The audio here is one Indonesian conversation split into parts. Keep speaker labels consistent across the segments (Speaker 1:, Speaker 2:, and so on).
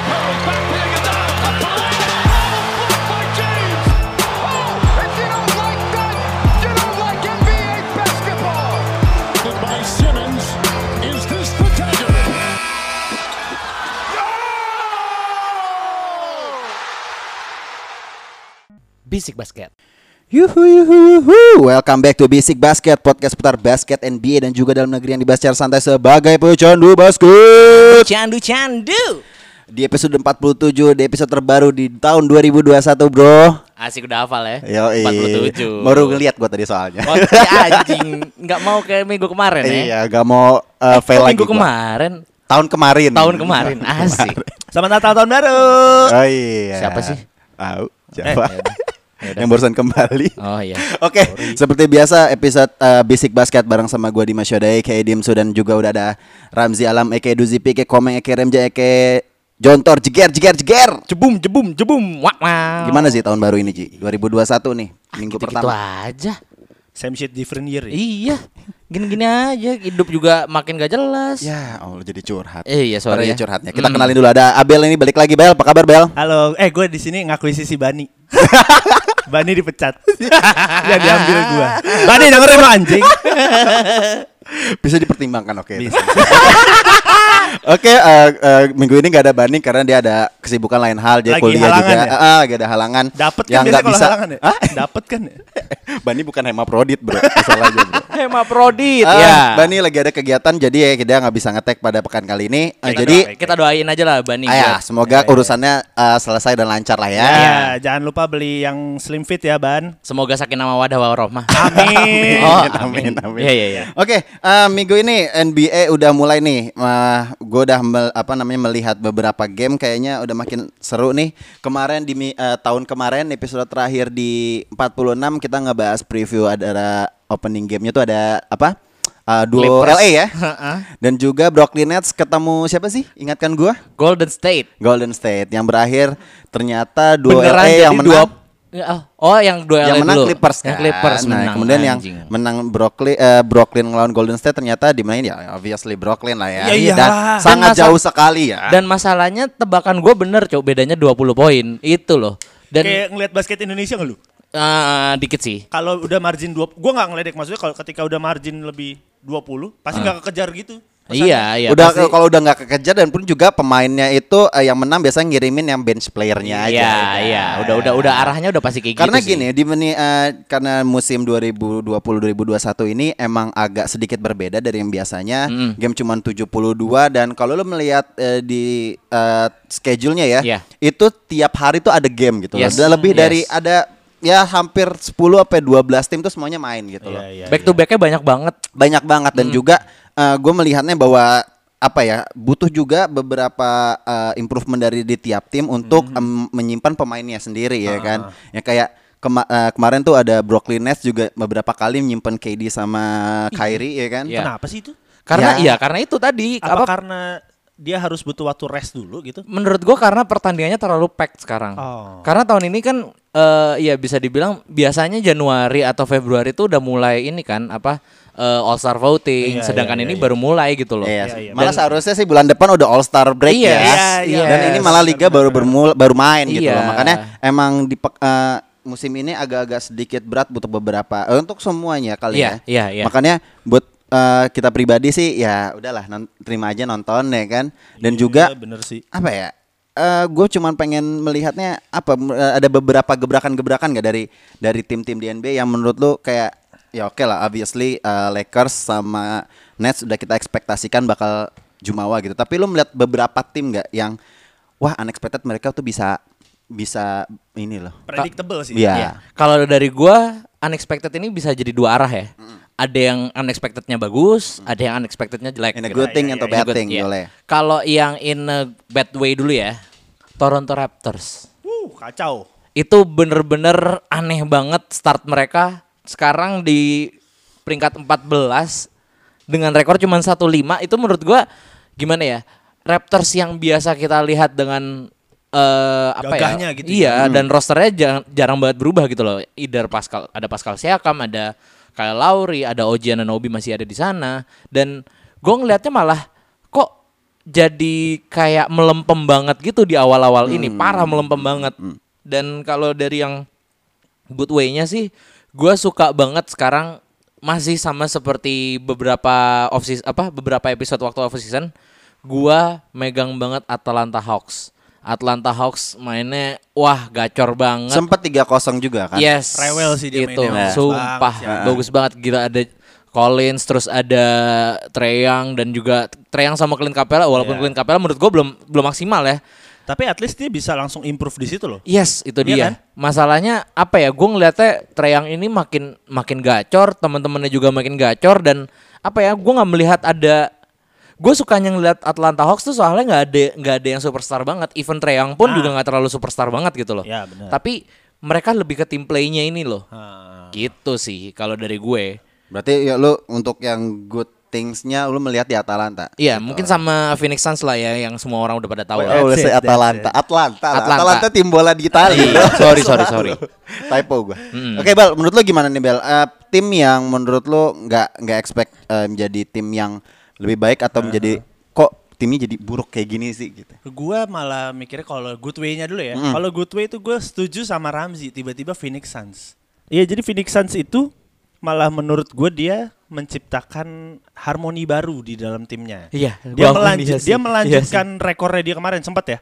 Speaker 1: Oh,
Speaker 2: Bisik Basket.
Speaker 3: Yuhu yuhu yuhu. Welcome back to Basic Basket Podcast putar basket NBA dan juga dalam negeri yang dibahas secara santai sebagai pecandu basket.
Speaker 2: Candu candu.
Speaker 3: Di episode 47 di episode terbaru di tahun 2021, Bro.
Speaker 2: Asik udah hafal ya.
Speaker 3: Yo,
Speaker 2: 47.
Speaker 3: Baru ngeliat gua tadi soalnya.
Speaker 2: Oh, si anjing, nggak mau kayak minggu kemarin ya.
Speaker 3: Iya, gak mau uh, fail
Speaker 2: Kok
Speaker 3: lagi.
Speaker 2: minggu
Speaker 3: gua.
Speaker 2: kemarin,
Speaker 3: Tahun kemarin.
Speaker 2: tahun kemarin, asik.
Speaker 1: Selamat Natal tahun baru.
Speaker 3: Oh iya.
Speaker 2: Siapa sih?
Speaker 3: Tahu. Siapa?
Speaker 2: yaudah.
Speaker 3: yang barusan kembali.
Speaker 2: Oh iya.
Speaker 3: Oke, seperti biasa episode eh, Basic Basket bareng sama gua Dimas Yoda aka Dimsu dan juga udah ada Ramzi Alam aka Duzipi aka Komeng aka Remja aka Jontor jeger jeger jeger.
Speaker 2: Jebum jebum jebum. Wah, wah.
Speaker 3: Gimana sih tahun baru ini, Ji? 2021 nih,
Speaker 2: Gitu,
Speaker 3: minggu pertama.
Speaker 2: aja.
Speaker 1: Same shit different year. ya.
Speaker 2: Iya. Gini-gini aja hidup juga makin gak jelas.
Speaker 3: Ya, Allah jadi curhat.
Speaker 2: Eh, iya, sorry
Speaker 3: Baru aja
Speaker 2: ya.
Speaker 3: curhatnya. Kita
Speaker 2: Mm.
Speaker 3: kenalin dulu ada Abel ini balik lagi Bel. Apa kabar Bel?
Speaker 1: Halo, eh gue di sini ngakuisisi Bani. Bani dipecat. ya diambil gua. Bani dengerin lo anjing.
Speaker 3: Bisa dipertimbangkan, oke.
Speaker 1: Bisa.
Speaker 3: Oke, eh, eh, minggu ini nggak ada banding karena dia ada kesibukan lain hal, dia
Speaker 1: Lagi
Speaker 3: kuliah
Speaker 1: halangan
Speaker 3: juga.
Speaker 1: ya?
Speaker 3: Ah, ah, gak ada halangan.
Speaker 1: Dapat kan
Speaker 3: yang
Speaker 1: biasanya
Speaker 3: nggak
Speaker 1: kalau
Speaker 3: bisa.
Speaker 1: halangan ya?
Speaker 3: Hah? Eh.
Speaker 1: Dapat kan ya?
Speaker 3: Bani bukan hemaprodit, bro. Salah aja, bro.
Speaker 2: Hemaprodit
Speaker 3: Ah,
Speaker 2: ya.
Speaker 3: Bani lagi ada kegiatan jadi ya kita nggak bisa ngetek pada pekan kali ini. Eh,
Speaker 2: Kita
Speaker 3: jadi
Speaker 2: doain- kita doain aja lah Bani. ya.
Speaker 3: ayah
Speaker 2: buat-
Speaker 3: semoga urusannya eh, selesai dan lancar lah ya.
Speaker 1: Ya, jangan lupa beli yang slim fit ya, Ban.
Speaker 2: Semoga sakin nama wadah warohmah.
Speaker 1: Ah. Amin.
Speaker 2: Oh,
Speaker 3: amin, amin.
Speaker 2: Iya, iya, iya.
Speaker 3: Oke, eh, minggu ini NBA udah mulai nih. gue udah mel- apa namanya melihat beberapa game kayaknya udah makin seru nih. Kemarin di mi- eh, tahun kemarin episode terakhir di 46 kita ngebahas preview ada opening gamenya tuh ada apa? Eh, duo
Speaker 2: Clippers.
Speaker 3: LA ya. Dan juga Brooklyn Nets ketemu siapa sih? Ingatkan gua.
Speaker 2: Golden State.
Speaker 3: Golden State yang berakhir ternyata dua
Speaker 2: Beneran
Speaker 3: LA yang
Speaker 2: jadi
Speaker 3: menang.
Speaker 2: dua- Ya, oh, Oh, yang dua LA
Speaker 3: yang menang
Speaker 2: dulu.
Speaker 3: Clippers
Speaker 2: Yang
Speaker 3: kan.
Speaker 2: Clippers
Speaker 3: Nah,
Speaker 2: menang.
Speaker 3: kemudian
Speaker 2: anjing.
Speaker 3: yang menang Brooklyn eh, Brooklyn ngelawan Golden State ternyata dimenangin ya obviously Brooklyn lah
Speaker 1: Ya
Speaker 3: ya.
Speaker 1: iyalah.
Speaker 3: Dan
Speaker 1: Dan
Speaker 3: sangat
Speaker 2: Iya, masa-
Speaker 3: jauh sekali ya.
Speaker 2: Dan masalahnya tebakan gue bener cok bedanya 20 poin itu loh. Dan
Speaker 1: Kayak ngeliat basket Indonesia nggak lu?
Speaker 2: eh, dikit sih.
Speaker 1: Kalau udah margin 20, gua nggak ngeledek maksudnya kalau ketika udah margin lebih 20, pasti
Speaker 3: Ah.
Speaker 1: nggak kekejar gitu. Pesannya.
Speaker 2: Iya, iya.
Speaker 3: udah
Speaker 2: pasti-
Speaker 3: kalau udah nggak kekejar dan pun juga pemainnya itu eh, yang menang biasanya ngirimin yang bench playernya aja. gitu.
Speaker 2: Iya, iya. Udah udah udah arahnya udah pasti kayak
Speaker 3: Karena
Speaker 2: gitu. sih.
Speaker 3: gini di meni- eh, karena musim 2020-2021 ini emang agak sedikit berbeda dari yang biasanya. Game cuman 72 dan kalau lo melihat eh, di eh, schedule-nya ya,
Speaker 2: Iya.
Speaker 3: itu tiap hari tuh ada game gitu loh.
Speaker 2: Yes.
Speaker 3: Dan lebih
Speaker 2: Yes.
Speaker 3: dari ada ya hampir 10 sampai 12 tim tuh semuanya main gitu loh.
Speaker 1: Iya, iya.
Speaker 2: Back to backnya banyak banget.
Speaker 3: Banyak banget dan
Speaker 2: Hmm.
Speaker 3: juga gue melihatnya bahwa apa ya butuh juga beberapa eh, improvement dari di tiap tim untuk
Speaker 2: Hmm.
Speaker 3: em, menyimpan pemainnya sendiri ya
Speaker 2: Ah.
Speaker 3: kan ya kayak kema- eh, kemarin tuh ada Brooklyn Nets juga beberapa kali menyimpan KD sama Kyrie ya kan
Speaker 2: Iya.
Speaker 1: Kenapa sih itu?
Speaker 2: Karena
Speaker 3: Ya.
Speaker 2: iya, karena itu tadi
Speaker 1: Apa,
Speaker 2: apa,
Speaker 1: karena dia harus butuh waktu rest dulu gitu?
Speaker 2: menurut gue karena pertandingannya terlalu packed sekarang.
Speaker 1: Oh.
Speaker 2: Karena tahun ini kan eh ya bisa dibilang biasanya Januari atau Februari itu udah mulai ini kan apa eh, All Star
Speaker 1: Iya,
Speaker 2: voting, sedangkan
Speaker 1: iya, iya.
Speaker 2: ini baru mulai gitu loh.
Speaker 3: Iya,
Speaker 1: Iya, iya.
Speaker 3: malah
Speaker 2: Dan-
Speaker 3: seharusnya sih bulan depan udah All Star break
Speaker 2: Iya,
Speaker 3: ya.
Speaker 2: iya, iya.
Speaker 3: Dan ini malah liga baru bermula baru main gitu
Speaker 2: Iya.
Speaker 3: loh. Makanya emang di pek- eh, musim ini agak-agak sedikit berat butuh beberapa eh, untuk semuanya kali
Speaker 2: Iya,
Speaker 3: ya.
Speaker 2: iya, iya.
Speaker 3: Makanya buat eh, kita pribadi sih ya udahlah non- terima aja nonton ya kan. Dan juga
Speaker 1: Iya, bener sih.
Speaker 3: apa ya? gue cuman pengen melihatnya apa m- eh, ada beberapa gebrakan-gebrakan gak dari dari tim-tim di NBA yang menurut lu kayak ya oke lah obviously eh, Lakers sama Nets udah kita ekspektasikan bakal jumawa gitu tapi lu melihat beberapa tim gak yang wah unexpected mereka tuh bisa bisa ini loh
Speaker 1: Predictable sih.
Speaker 3: Iya.
Speaker 2: Iya. Kalau dari gua unexpected ini bisa jadi dua arah ya. Ada yang unexpectednya bagus, ada yang unexpectednya jelek.
Speaker 3: in a
Speaker 2: gitu.
Speaker 3: good thing
Speaker 1: Iya, iya,
Speaker 2: In
Speaker 3: and a
Speaker 2: a
Speaker 3: bad
Speaker 2: good-
Speaker 3: thing
Speaker 2: iya.
Speaker 3: boleh
Speaker 2: Kalau yang in a bad way dulu ya, Toronto Raptors
Speaker 1: Wuh, kacau.
Speaker 2: itu bener-bener aneh banget start mereka sekarang di peringkat 14 dengan rekor cuma 1-5 itu menurut gua gimana ya Raptors yang biasa kita lihat dengan eh apa
Speaker 1: Gagahnya
Speaker 2: ya
Speaker 1: gitu
Speaker 2: iya dan rosternya jarang, jarang banget berubah gitu loh either Pascal ada Pascal Siakam ada Kyle Lowry ada OG Ananobi masih ada di sana dan gue ngelihatnya malah kok jadi kayak melempem banget gitu di awal-awal ini parah melempem banget dan kalau dari yang good way-nya sih gue suka banget sekarang masih sama seperti beberapa off season, apa beberapa episode waktu off season gue megang banget Atlanta Hawks Atlanta Hawks mainnya wah gacor banget. Iya.
Speaker 3: Sempat 3-0 juga kan?
Speaker 2: Yes.
Speaker 1: Rewel sih dia
Speaker 2: itu.
Speaker 1: mainnya, bagus
Speaker 2: Sumpah
Speaker 1: banget sih.
Speaker 2: bagus banget gila ada Collins terus ada Treyang dan juga Treyang sama Clint Capela walaupun
Speaker 1: Iya.
Speaker 2: Clint Capela menurut gue belum belum maksimal ya.
Speaker 1: Tapi at least dia bisa langsung improve di situ loh.
Speaker 2: Yes, itu
Speaker 1: Iya
Speaker 2: dia.
Speaker 1: kan?
Speaker 2: Masalahnya apa ya? Gue ngeliatnya Treyang ini makin makin gacor, teman-temannya juga makin gacor dan apa ya? Gue nggak melihat ada. Gue sukanya ngeliat Atlanta Hawks tuh soalnya nggak ada nggak ada yang superstar banget. Even Treyang
Speaker 1: Ah.
Speaker 2: pun juga nggak terlalu superstar banget gitu loh.
Speaker 1: Ya, benar.
Speaker 2: Tapi mereka lebih ke tim playnya ini loh.
Speaker 1: Ah.
Speaker 2: Gitu sih kalau dari gue.
Speaker 3: Berarti ya lu untuk yang good things-nya lu melihat di Atalanta.
Speaker 2: Iya, mungkin sama Phoenix Suns lah ya yang semua orang udah pada tahu. ya.
Speaker 3: Oh,
Speaker 2: lah.
Speaker 3: oh,
Speaker 1: That's it,
Speaker 3: say
Speaker 1: that's
Speaker 3: Atalanta. Atlanta. lah.
Speaker 2: Atlanta.
Speaker 3: Atalanta tim bola di Itali.
Speaker 2: Iya, sorry, sorry, sorry.
Speaker 3: Typo gua. Oke, Bal, menurut lo gimana nih, Bal? Eh, tim yang menurut lo nggak nggak expect eh, menjadi tim yang lebih baik atau menjadi kok timnya jadi buruk kayak gini sih gitu.
Speaker 1: Gua malah mikirnya kalau good way-nya dulu ya. Kalau good way itu gue setuju sama Ramzi tiba-tiba Phoenix Suns. Iya, jadi Phoenix Suns itu malah menurut gue dia menciptakan harmoni baru di dalam timnya.
Speaker 2: Iya,
Speaker 1: Dia
Speaker 2: gua akui
Speaker 1: melanjut
Speaker 2: dia sih.
Speaker 1: dia
Speaker 2: Iya
Speaker 1: melanjutkan rekornya dia kemarin sempat ya.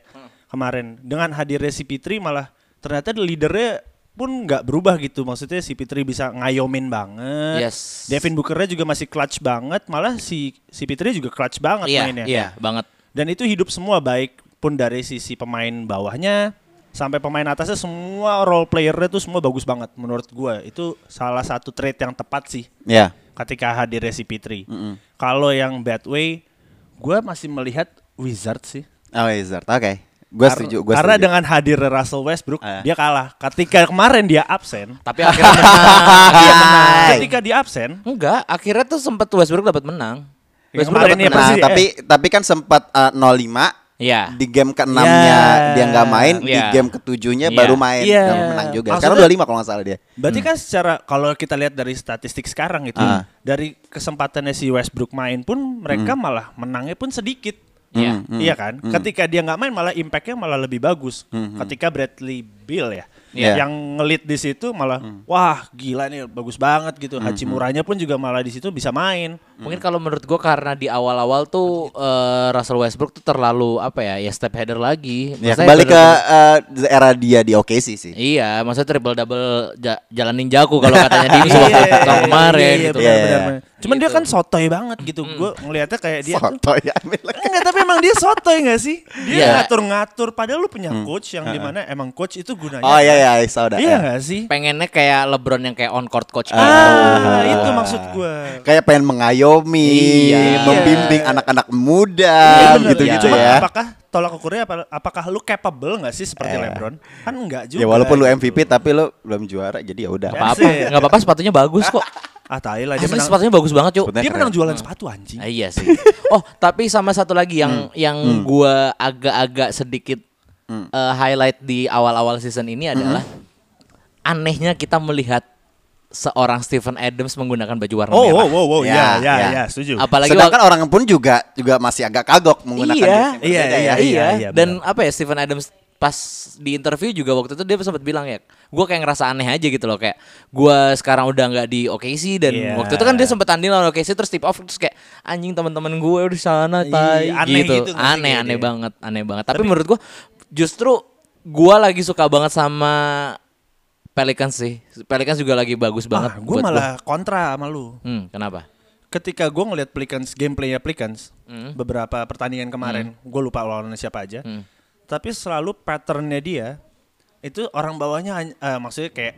Speaker 1: Kemarin dengan hadirnya si Pitri malah ternyata leadernya pun nggak berubah gitu. Maksudnya si Pitri bisa ngayomin banget.
Speaker 2: Yes.
Speaker 1: Devin Bookernya juga masih clutch banget. Malah si si Pitri juga clutch banget
Speaker 2: Iya,
Speaker 1: mainnya.
Speaker 2: iya, banget.
Speaker 1: Dan itu hidup semua baik pun dari sisi pemain bawahnya sampai pemain atasnya semua role playernya tuh semua bagus banget menurut gua Itu salah satu trait yang tepat sih
Speaker 3: Ya.
Speaker 1: ketika hadir si Pitri. Kalau yang bad way, gua masih melihat Wizard sih.
Speaker 3: Oh, Wizard. Oke. Gua
Speaker 1: Kar-
Speaker 3: setuju, gua
Speaker 1: karena
Speaker 3: setuju.
Speaker 1: dengan hadir Russell Westbrook
Speaker 3: Eh.
Speaker 1: dia kalah. Ketika kemarin dia absen,
Speaker 2: Tapi akhirnya
Speaker 3: Ah. Hai.
Speaker 1: ketika dia absen,
Speaker 2: enggak, akhirnya tuh sempat Westbrook dapat menang.
Speaker 1: Ya,
Speaker 2: Westbrook
Speaker 1: kemarin
Speaker 2: dapat
Speaker 1: ya,
Speaker 2: menang.
Speaker 3: Nah,
Speaker 1: pasti,
Speaker 3: tapi tapi kan sempat eh, 05
Speaker 2: Iya.
Speaker 3: di game ke-6-nya
Speaker 1: Ya.
Speaker 3: dia nggak main, di
Speaker 2: Ya.
Speaker 3: game ke-7-nya
Speaker 2: Ya.
Speaker 3: baru main,
Speaker 1: Ya.
Speaker 3: nggak menang juga. Sekarang
Speaker 1: Maksudnya-
Speaker 3: 25 kalau nggak salah dia.
Speaker 1: Berarti kan secara kalau kita lihat dari statistik sekarang gitu,
Speaker 3: Ah.
Speaker 1: dari kesempatannya si Westbrook main pun mereka malah menangnya pun sedikit.
Speaker 2: Iya.
Speaker 1: Iya kan? Ketika dia nggak main malah impactnya malah lebih bagus. Ketika Bradley Bill ya
Speaker 3: Iya.
Speaker 1: yang ngelit di situ malah wah gila nih bagus banget gitu. Hachimuranya pun juga malah di situ bisa main.
Speaker 2: Mungkin kalau menurut gua karena di awal-awal tuh
Speaker 1: gitu?
Speaker 2: eh, Russell Westbrook tuh terlalu apa ya, ya step header lagi.
Speaker 3: Ya,
Speaker 2: Maksudnya
Speaker 3: kembali ke
Speaker 2: bener-bener-
Speaker 3: eh, era dia di OKC sih.
Speaker 2: Iya, maksudnya triple double ja, jalan ninjaku kalau katanya di waktu
Speaker 1: Iya,
Speaker 2: tahun kemarin
Speaker 1: iya,
Speaker 2: gitu.
Speaker 3: benar.
Speaker 1: benar-benar.
Speaker 3: Iya,
Speaker 1: Cuman dia
Speaker 2: Gitu.
Speaker 1: kan
Speaker 2: Hmm.
Speaker 1: sotoy banget gitu. Gue ngelihatnya kayak dia tuh
Speaker 3: Soto ya. Mil.
Speaker 1: Enggak, tapi emang dia sotoy gak sih? Dia
Speaker 2: Iya.
Speaker 1: ngatur-ngatur. Padahal lu punya coach yang dimana emang coach itu gunanya.
Speaker 3: Hmm. Oh iya iya, I saw that,
Speaker 1: Iya
Speaker 3: ya.
Speaker 1: gak sih?
Speaker 2: Pengennya kayak LeBron yang kayak on court coach.
Speaker 1: Ah, itu maksud gue.
Speaker 3: Kayak pengen mengayomi,
Speaker 2: Iya.
Speaker 3: membimbing anak-anak muda Ah,
Speaker 1: Iya,
Speaker 3: gitu-gitu
Speaker 1: Cuma
Speaker 3: ya.
Speaker 1: apakah tolak ukurnya apa- apakah lu capable gak sih seperti LeBron? Kan enggak juga.
Speaker 3: Iya. Ya walaupun lu
Speaker 1: gitu.
Speaker 3: MVP tapi lu belum juara jadi ya udah.
Speaker 2: Gak apa-apa,
Speaker 1: That's it.
Speaker 2: gak apa-apa sepatunya bagus kok.
Speaker 1: Ah, tai lah dia
Speaker 2: Asli
Speaker 1: menang.
Speaker 2: sepatunya bagus banget, Cuk.
Speaker 3: Sepatunya
Speaker 1: Dia
Speaker 3: keren.
Speaker 1: menang jualan sepatu anjing. Hmm.
Speaker 2: Ah, iya sih. Oh, tapi sama satu lagi yang yang gua agak-agak sedikit eh, highlight di awal-awal season ini
Speaker 1: Hmm.
Speaker 2: adalah anehnya kita melihat seorang Stephen Adams menggunakan baju warna
Speaker 1: Oh,
Speaker 2: merah.
Speaker 1: wow, wow, wow,
Speaker 3: Ya,
Speaker 1: ya, ya,
Speaker 3: ya.
Speaker 1: ya, setuju.
Speaker 2: Apalagi
Speaker 3: Sedangkan orang pun juga juga masih agak kagok menggunakan
Speaker 2: Iya,
Speaker 3: jersey yang
Speaker 1: iya,
Speaker 3: berbeda
Speaker 2: iya,
Speaker 3: ya.
Speaker 2: iya,
Speaker 1: iya,
Speaker 2: dan apa ya Stephen Adams pas di interview juga waktu itu dia sempat bilang ya, gue kayak ngerasa aneh aja gitu loh kayak gue sekarang udah nggak di OKC dan
Speaker 1: Iya.
Speaker 2: waktu itu kan dia sempat tanding lawan OKC terus tip off terus kayak anjing teman-teman gue di sana
Speaker 1: Iya,
Speaker 2: tai
Speaker 1: aneh
Speaker 2: gitu,
Speaker 1: gitu nggak sih
Speaker 2: aneh
Speaker 1: kayak
Speaker 2: aneh
Speaker 1: dia?
Speaker 2: banget, aneh banget. Tapi, menurut gue justru gue lagi suka banget sama Pelicans sih, Pelicans juga lagi bagus banget.
Speaker 1: gue
Speaker 2: buat Ah, gua.
Speaker 1: malah kontra sama lu.
Speaker 2: Hmm, kenapa?
Speaker 1: ketika gue ngeliat Pelicans gameplaynya Pelicans beberapa pertandingan kemarin gue lupa lawannya siapa aja tapi selalu patternnya dia itu orang bawahnya hany- eh, maksudnya kayak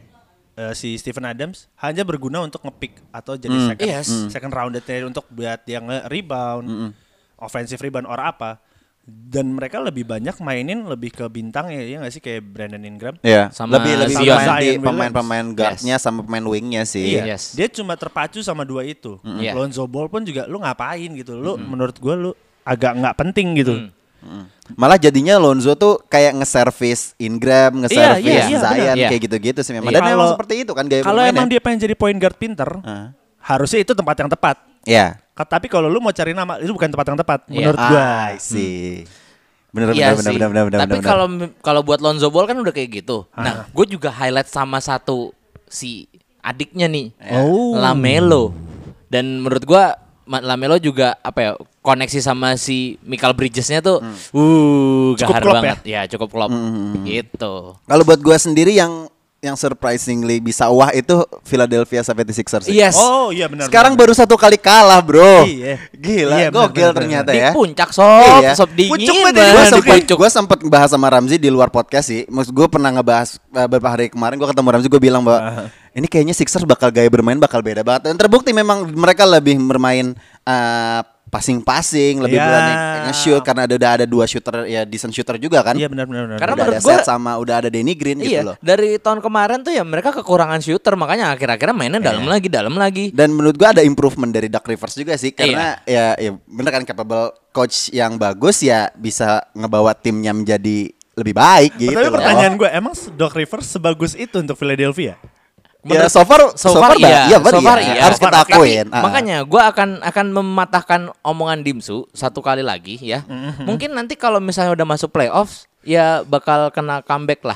Speaker 1: eh, si Stephen Adams hanya berguna untuk ngepick atau jadi second
Speaker 2: Yes.
Speaker 1: second rounded untuk buat dia nge rebound offensive rebound or apa dan mereka lebih banyak mainin lebih ke bintang ya ya nggak sih kayak Brandon Ingram
Speaker 3: Iya.
Speaker 2: Sama
Speaker 3: lebih lebih
Speaker 2: Zion.
Speaker 3: pemain
Speaker 1: Zion
Speaker 3: di
Speaker 1: Williams.
Speaker 3: pemain-pemain guardnya sama pemain wingnya sih.
Speaker 1: Iya.
Speaker 2: Yes.
Speaker 1: Dia cuma terpacu sama dua itu.
Speaker 2: Iya.
Speaker 1: Lonzo Ball pun juga lu ngapain gitu. Lu menurut gua lu agak nggak penting gitu.
Speaker 2: Mm.
Speaker 3: Hmm. Malah jadinya Lonzo tuh kayak nge-service Ingram, nge-service
Speaker 1: Iya, iya, iya,
Speaker 3: Zion
Speaker 2: benar.
Speaker 3: kayak gitu-gitu sih memang.
Speaker 2: Iya.
Speaker 3: Dan memang
Speaker 1: Kalau-
Speaker 3: seperti itu kan gaya
Speaker 1: Kalau
Speaker 3: bermainnya.
Speaker 1: emang dia pengen jadi point guard pinter,
Speaker 3: Heeh.
Speaker 1: harusnya itu tempat yang tepat.
Speaker 3: Iya.
Speaker 1: Ka- Tapi kalau lu mau cari nama itu bukan tempat yang tepat
Speaker 2: Iya.
Speaker 1: menurut gua.
Speaker 3: Ah, I see.
Speaker 1: Hmm.
Speaker 3: Bener
Speaker 2: Iya
Speaker 3: bener bener
Speaker 2: sih.
Speaker 3: bener bener bener.
Speaker 2: Tapi
Speaker 3: bener.
Speaker 2: kalau kalau buat Lonzo Ball kan udah kayak gitu. Nah, gue juga highlight sama satu si adiknya nih,
Speaker 3: Ya.
Speaker 1: Oh.
Speaker 2: Lamelo. Dan menurut gua Ma- Lamelo juga apa ya koneksi sama si Michael Bridgesnya tuh,
Speaker 3: Hmm.
Speaker 2: uh,
Speaker 1: Cukup
Speaker 2: gahar
Speaker 1: klop ya?
Speaker 2: banget. Ya, cukup klop. Gitu.
Speaker 3: Kalau buat gue sendiri yang yang surprisingly bisa wah itu Philadelphia 76ers. sih.
Speaker 2: Yes.
Speaker 1: Oh iya benar.
Speaker 3: Sekarang
Speaker 1: benar.
Speaker 3: baru satu kali kalah, Bro.
Speaker 1: Iya.
Speaker 3: Gila,
Speaker 1: Iya, benar,
Speaker 3: gokil
Speaker 1: benar,
Speaker 3: ternyata
Speaker 2: di
Speaker 3: ya.
Speaker 2: puncak sob,
Speaker 3: Iya.
Speaker 2: sob Oh, dingin.
Speaker 1: Puncak banget ya,
Speaker 2: man,
Speaker 3: Gue
Speaker 2: di
Speaker 3: sempet,
Speaker 2: puncak.
Speaker 3: gua sempet bahas sama Ramzi di luar podcast sih. Maksud gue pernah ngebahas uh, beberapa hari kemarin gue ketemu Ramzi gue bilang bahwa ini kayaknya Sixers bakal gaya bermain bakal beda banget. Dan terbukti memang mereka lebih bermain uh, passing-passing, lebih
Speaker 1: Iya.
Speaker 3: berani nge-shoot karena ada udah ada dua shooter ya decent shooter juga kan.
Speaker 1: Iya benar benar benar.
Speaker 2: Karena
Speaker 3: udah
Speaker 2: menurut
Speaker 3: ada Seth
Speaker 2: gua-
Speaker 3: sama udah ada Danny Green gitu
Speaker 2: Iya,
Speaker 3: loh.
Speaker 2: dari tahun kemarin tuh ya mereka kekurangan shooter makanya akhir-akhirnya mainnya
Speaker 3: Iya.
Speaker 2: dalam lagi, dalam lagi.
Speaker 3: Dan menurut gua ada improvement dari Dark Rivers juga sih karena ya ya bener kan capable coach yang bagus ya bisa ngebawa timnya menjadi lebih baik gitu.
Speaker 1: Tapi
Speaker 3: loh.
Speaker 1: pertanyaan gue, emang Doc Rivers sebagus itu untuk Philadelphia?
Speaker 3: Ya, so far,
Speaker 2: so
Speaker 3: so
Speaker 2: far
Speaker 3: far,
Speaker 2: iya,
Speaker 3: dah- iya, bener,
Speaker 2: so far
Speaker 3: iya.
Speaker 2: iya.
Speaker 3: harus
Speaker 2: So far
Speaker 3: kita
Speaker 2: oke.
Speaker 3: akuin. Ah, ah.
Speaker 2: Makanya gua akan akan mematahkan omongan Dimsu satu kali lagi ya.
Speaker 3: Mm-hmm.
Speaker 2: Mungkin nanti kalau misalnya udah masuk playoffs ya bakal kena comeback lah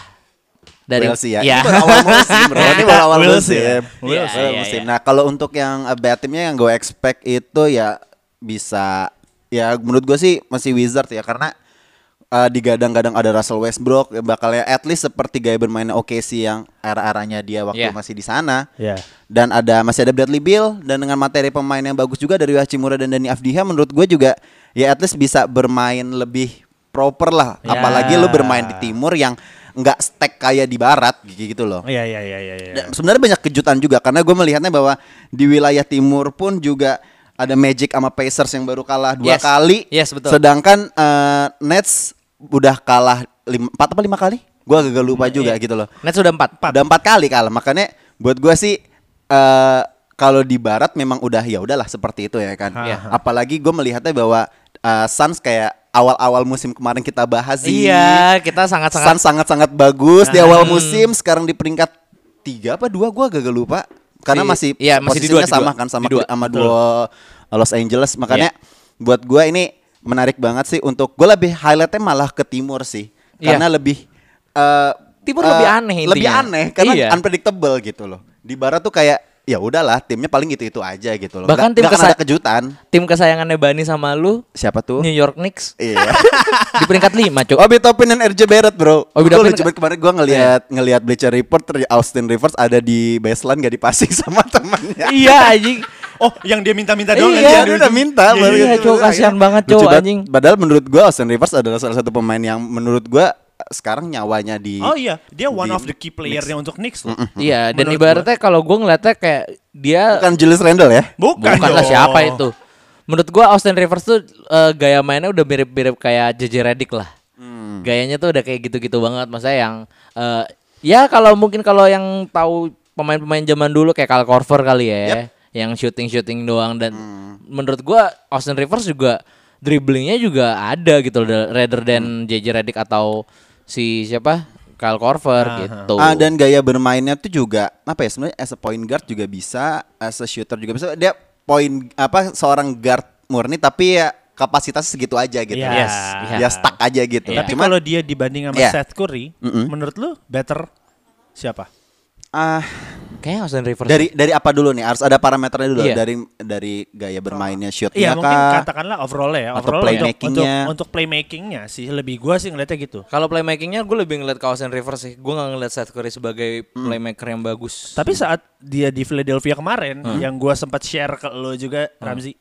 Speaker 2: dari
Speaker 3: We'll see ya. Ini baru awal musim, bro. Ini baru awal
Speaker 1: We'll
Speaker 3: musim.
Speaker 1: see ya.
Speaker 3: Baru
Speaker 2: Iya,
Speaker 3: awal
Speaker 2: iya,
Speaker 3: musim.
Speaker 2: iya.
Speaker 3: Nah, kalau untuk yang uh, bad timnya yang gue expect itu ya bisa ya menurut gue sih masih Wizard ya karena uh, digadang-gadang ada Russell Westbrook ya bakalnya at least seperti gaya bermain OKC yang era-eranya dia
Speaker 2: Iya.
Speaker 3: waktu masih di sana.
Speaker 1: Iya.
Speaker 3: Dan ada masih ada Bradley Beal dan dengan materi pemain yang bagus juga dari Hachimura dan Dani Avdija menurut gue juga ya at least bisa bermain lebih proper lah
Speaker 1: Ya.
Speaker 3: apalagi lu bermain di timur yang nggak stack kayak di barat gitu
Speaker 2: Oh,
Speaker 3: loh.
Speaker 1: Iya iya iya iya. iya.
Speaker 3: Dan sebenarnya banyak kejutan juga karena gue melihatnya bahwa di wilayah timur pun juga ada Magic sama Pacers yang baru kalah dua
Speaker 2: Yes.
Speaker 3: kali.
Speaker 2: Yes, betul.
Speaker 3: Sedangkan eh, Nets udah kalah lim- empat apa lima kali? Gue agak lupa juga gitu loh.
Speaker 2: Net sudah Iya. empat.
Speaker 3: Udah empat kali kalah. Makanya buat gue sih eh kalau di barat memang udah ya udahlah seperti itu ya kan.
Speaker 2: Iya.
Speaker 3: Apalagi gue melihatnya bahwa eh, Suns kayak awal-awal musim kemarin kita bahas sih.
Speaker 2: Iya, kita sangat-sangat Hmm.
Speaker 3: Suns sangat-sangat bagus di awal musim sekarang di peringkat tiga apa dua gua agak lupa karena
Speaker 2: Di-
Speaker 3: masih
Speaker 2: iya, masih di dua,
Speaker 3: posisinya
Speaker 2: di
Speaker 3: sama
Speaker 2: dua.
Speaker 3: kan sama
Speaker 2: Di dua, Iya.
Speaker 3: sama dua Los Angeles makanya buat gua ini menarik banget sih untuk gua lebih highlightnya malah ke timur sih
Speaker 2: Iya.
Speaker 3: karena lebih eh,
Speaker 2: Timur
Speaker 3: eh,
Speaker 2: lebih aneh
Speaker 3: lebih
Speaker 2: intinya.
Speaker 3: aneh karena
Speaker 2: Iya.
Speaker 3: unpredictable gitu loh di barat tuh kayak ya udahlah timnya paling itu itu aja gitu loh
Speaker 2: Bahkan
Speaker 3: Nggak-
Speaker 2: tim
Speaker 3: nggak akan
Speaker 2: kesa-
Speaker 3: ada kejutan
Speaker 2: tim kesayangannya Bani sama lu
Speaker 3: siapa tuh
Speaker 2: New York Knicks
Speaker 3: iya
Speaker 2: di peringkat 5, Cuk.
Speaker 3: Obi Toppin dan RJ Barrett bro
Speaker 2: Obi Iya.
Speaker 3: Gue
Speaker 2: Toppin-
Speaker 3: lucu banget kemarin gue ngelihat ngelihat Bleacher Report dari Austin Rivers ada di baseline gak dipasing sama temannya
Speaker 2: iya, anjing.
Speaker 1: Oh, yang dia minta-minta doang.
Speaker 2: Iya,
Speaker 1: nanti
Speaker 3: Iya
Speaker 1: ada
Speaker 3: dia
Speaker 1: ujung.
Speaker 3: udah minta
Speaker 1: Iya,
Speaker 3: baru
Speaker 1: iya.
Speaker 2: iya,
Speaker 3: gitu.
Speaker 2: cowok, kasihan
Speaker 3: Akhirnya
Speaker 2: banget,
Speaker 3: lucu
Speaker 2: cowok,
Speaker 3: banget.
Speaker 2: anjing.
Speaker 3: Padahal menurut gue Austin Rivers adalah salah satu pemain yang menurut gue sekarang nyawanya di
Speaker 1: Oh iya, dia one
Speaker 3: di-
Speaker 1: of the key player-nya untuk Knicks loh.
Speaker 2: Iya, dan
Speaker 1: Menurut
Speaker 2: ibaratnya kalau gua ngeliatnya kayak dia
Speaker 3: Bukan Julius Randle ya
Speaker 1: Bukan,
Speaker 2: Bukanlah
Speaker 1: dong.
Speaker 2: siapa itu. Menurut gua Austin Rivers tuh eh, gaya mainnya udah mirip-mirip kayak JJ Redick lah. Gayanya tuh udah kayak gitu-gitu banget masa yang eh, ya kalau mungkin kalau yang tahu pemain-pemain zaman dulu kayak Kyle Korver kali ya yang shooting-shooting doang dan menurut gua Austin Rivers juga dribblingnya juga ada gitu loh rather than JJ Redick atau si siapa Kyle Korver gitu.
Speaker 3: Ah, dan gaya bermainnya tuh juga apa ya sebenarnya as a point guard juga bisa, as a shooter juga bisa. Dia point apa seorang guard murni tapi ya kapasitas segitu aja gitu.
Speaker 1: Iya. Yes,
Speaker 2: iya.
Speaker 3: Dia stuck aja gitu.
Speaker 1: Tapi
Speaker 3: Cuman,
Speaker 1: kalau dia dibanding sama
Speaker 3: Iya.
Speaker 1: Seth Curry, menurut lu better siapa?
Speaker 3: ah,
Speaker 2: Kayaknya Austin Rivers
Speaker 3: dari dari apa dulu nih? Harus ada parameternya dulu
Speaker 2: Iya.
Speaker 3: dari dari gaya bermainnya,
Speaker 1: Iya
Speaker 3: shootnya
Speaker 1: mungkin
Speaker 3: kah?
Speaker 1: katakanlah overall ya,
Speaker 3: Atau
Speaker 1: overall untuk,
Speaker 3: playmaking-nya.
Speaker 1: untuk, untuk playmaking-nya sih lebih gua sih ngeliatnya gitu.
Speaker 2: Kalau playmakingnya gue lebih ngeliat kawasan Rivers sih. Gue nggak ngeliat Seth Curry sebagai
Speaker 3: Hmm.
Speaker 2: playmaker yang bagus.
Speaker 1: Tapi saat dia di Philadelphia kemarin
Speaker 3: Hmm.
Speaker 1: yang gua sempat share ke lo juga Ramzi,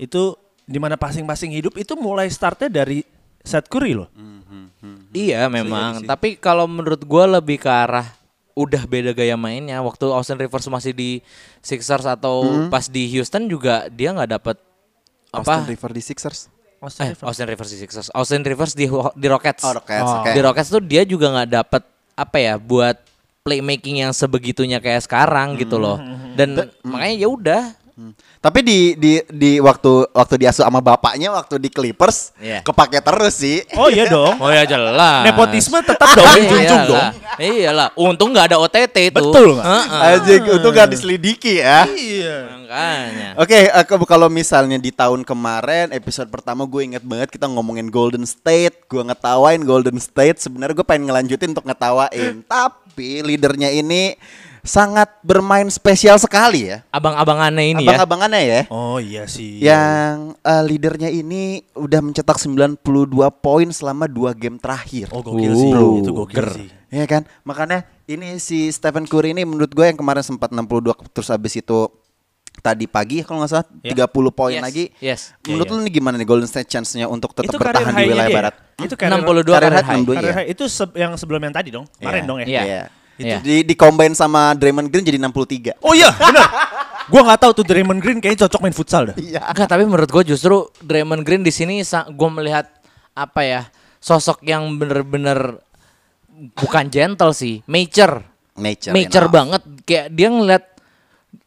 Speaker 1: itu dimana passing-passing hidup itu mulai startnya dari Seth Curry loh.
Speaker 3: Hmm.
Speaker 2: Iya memang. Tapi kalau menurut gue lebih ke arah udah beda gaya mainnya. Waktu Austin Rivers masih di Sixers atau
Speaker 3: Hmm.
Speaker 2: pas di Houston juga dia nggak dapet
Speaker 3: Austin
Speaker 2: apa?
Speaker 3: Rivers di Sixers.
Speaker 2: Eh, Austin Rivers di Sixers. Austin Rivers di di Rockets.
Speaker 3: Oh, Rockets, oke.
Speaker 2: Di Rockets tuh dia juga nggak dapet apa ya buat playmaking yang sebegitunya kayak sekarang gitu loh. Dan makanya ya udah.
Speaker 3: Hmm. Tapi di di di waktu waktu diasuh sama bapaknya waktu di Clippers
Speaker 2: Iya.
Speaker 3: kepake terus sih.
Speaker 1: Oh iya dong.
Speaker 2: Oh ya jelas.
Speaker 3: Ah.
Speaker 1: Nepotisme tetap dong
Speaker 3: Iya.
Speaker 1: dijunjung
Speaker 2: Iyalah.
Speaker 1: dong.
Speaker 2: Iyalah, Iya untung nggak ada OTT itu.
Speaker 1: Betul nggak?
Speaker 2: Heeh.
Speaker 3: Aja itu gak diselidiki ya.
Speaker 2: Iya. Makanya.
Speaker 3: Oke, eh, ke- kalau misalnya di tahun kemarin episode pertama gue inget banget kita ngomongin Golden State, gue ngetawain Golden State. Sebenarnya gue pengen ngelanjutin untuk ngetawain, tapi leadernya ini sangat bermain spesial sekali ya.
Speaker 2: Abang-abangannya ini ya.
Speaker 3: Abang-abangannya ya.
Speaker 1: Oh iya sih.
Speaker 3: Yang eh, leadernya ini udah mencetak 92 poin selama dua game terakhir.
Speaker 1: Oh gokil sih.
Speaker 2: Wow,
Speaker 1: Itu gokil
Speaker 2: ger.
Speaker 1: sih.
Speaker 3: Iya kan? Makanya ini si Stephen Curry ini menurut gue yang kemarin sempat 62 terus abis itu tadi pagi kalau nggak salah
Speaker 1: Ya.
Speaker 3: 30 poin
Speaker 2: Yes,
Speaker 3: lagi.
Speaker 2: yes.
Speaker 3: Menurut
Speaker 1: Iya,
Speaker 3: lu ini gimana nih Golden State chance-nya untuk tetap
Speaker 1: Itu
Speaker 3: bertahan di
Speaker 1: high-nya
Speaker 3: wilayah
Speaker 1: dia ya?
Speaker 3: barat?
Speaker 1: Itu karir
Speaker 2: 62
Speaker 3: Karir
Speaker 2: karir
Speaker 3: high
Speaker 2: high.
Speaker 3: 62,
Speaker 1: karir
Speaker 3: iya.
Speaker 1: high. Itu se- yang sebelum yang tadi dong. Kemarin dong ya.
Speaker 2: Iya.
Speaker 3: Itu
Speaker 2: Iya.
Speaker 3: di di combine sama Draymond Green jadi 63.
Speaker 1: Oh iya, benar. gua nggak tahu tuh Draymond Green kayaknya cocok main futsal dah.
Speaker 3: Iya.
Speaker 2: Enggak, tapi menurut gue justru Draymond Green di sini gue melihat apa ya sosok yang bener-bener bukan gentle sih, mature,
Speaker 3: Nature.
Speaker 2: mature
Speaker 3: enough.
Speaker 2: banget. Kayak dia ngeliat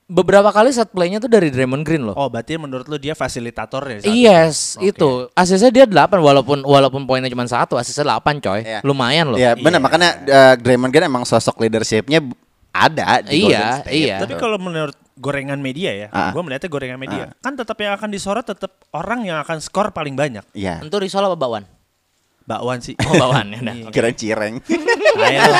Speaker 2: beberapa kali set playnya tuh dari Draymond Green loh.
Speaker 1: Oh, berarti menurut lu dia fasilitator ya? saat
Speaker 3: Iya.
Speaker 2: yes,
Speaker 1: Oke.
Speaker 2: itu asisnya dia 8 walaupun walaupun poinnya cuma satu, asisnya 8 coy,
Speaker 3: Iya.
Speaker 2: lumayan Oh, loh.
Speaker 3: Iya, benar. Makanya uh, Draymond Green emang sosok leadership-nya b- ada di
Speaker 2: Iya,
Speaker 3: Golden State.
Speaker 2: iya.
Speaker 1: Tapi kalau menurut gorengan media ya,
Speaker 3: Ah.
Speaker 1: gua melihatnya gorengan media. Kan tetap yang akan disorot tetap orang yang akan skor paling banyak.
Speaker 3: Iya.
Speaker 2: Tentu Risol apa Bakwan?
Speaker 1: Bakwan sih.
Speaker 2: Oh, Bakwan ya udah.
Speaker 1: Iya.
Speaker 3: Kirain cireng.
Speaker 1: Ayo.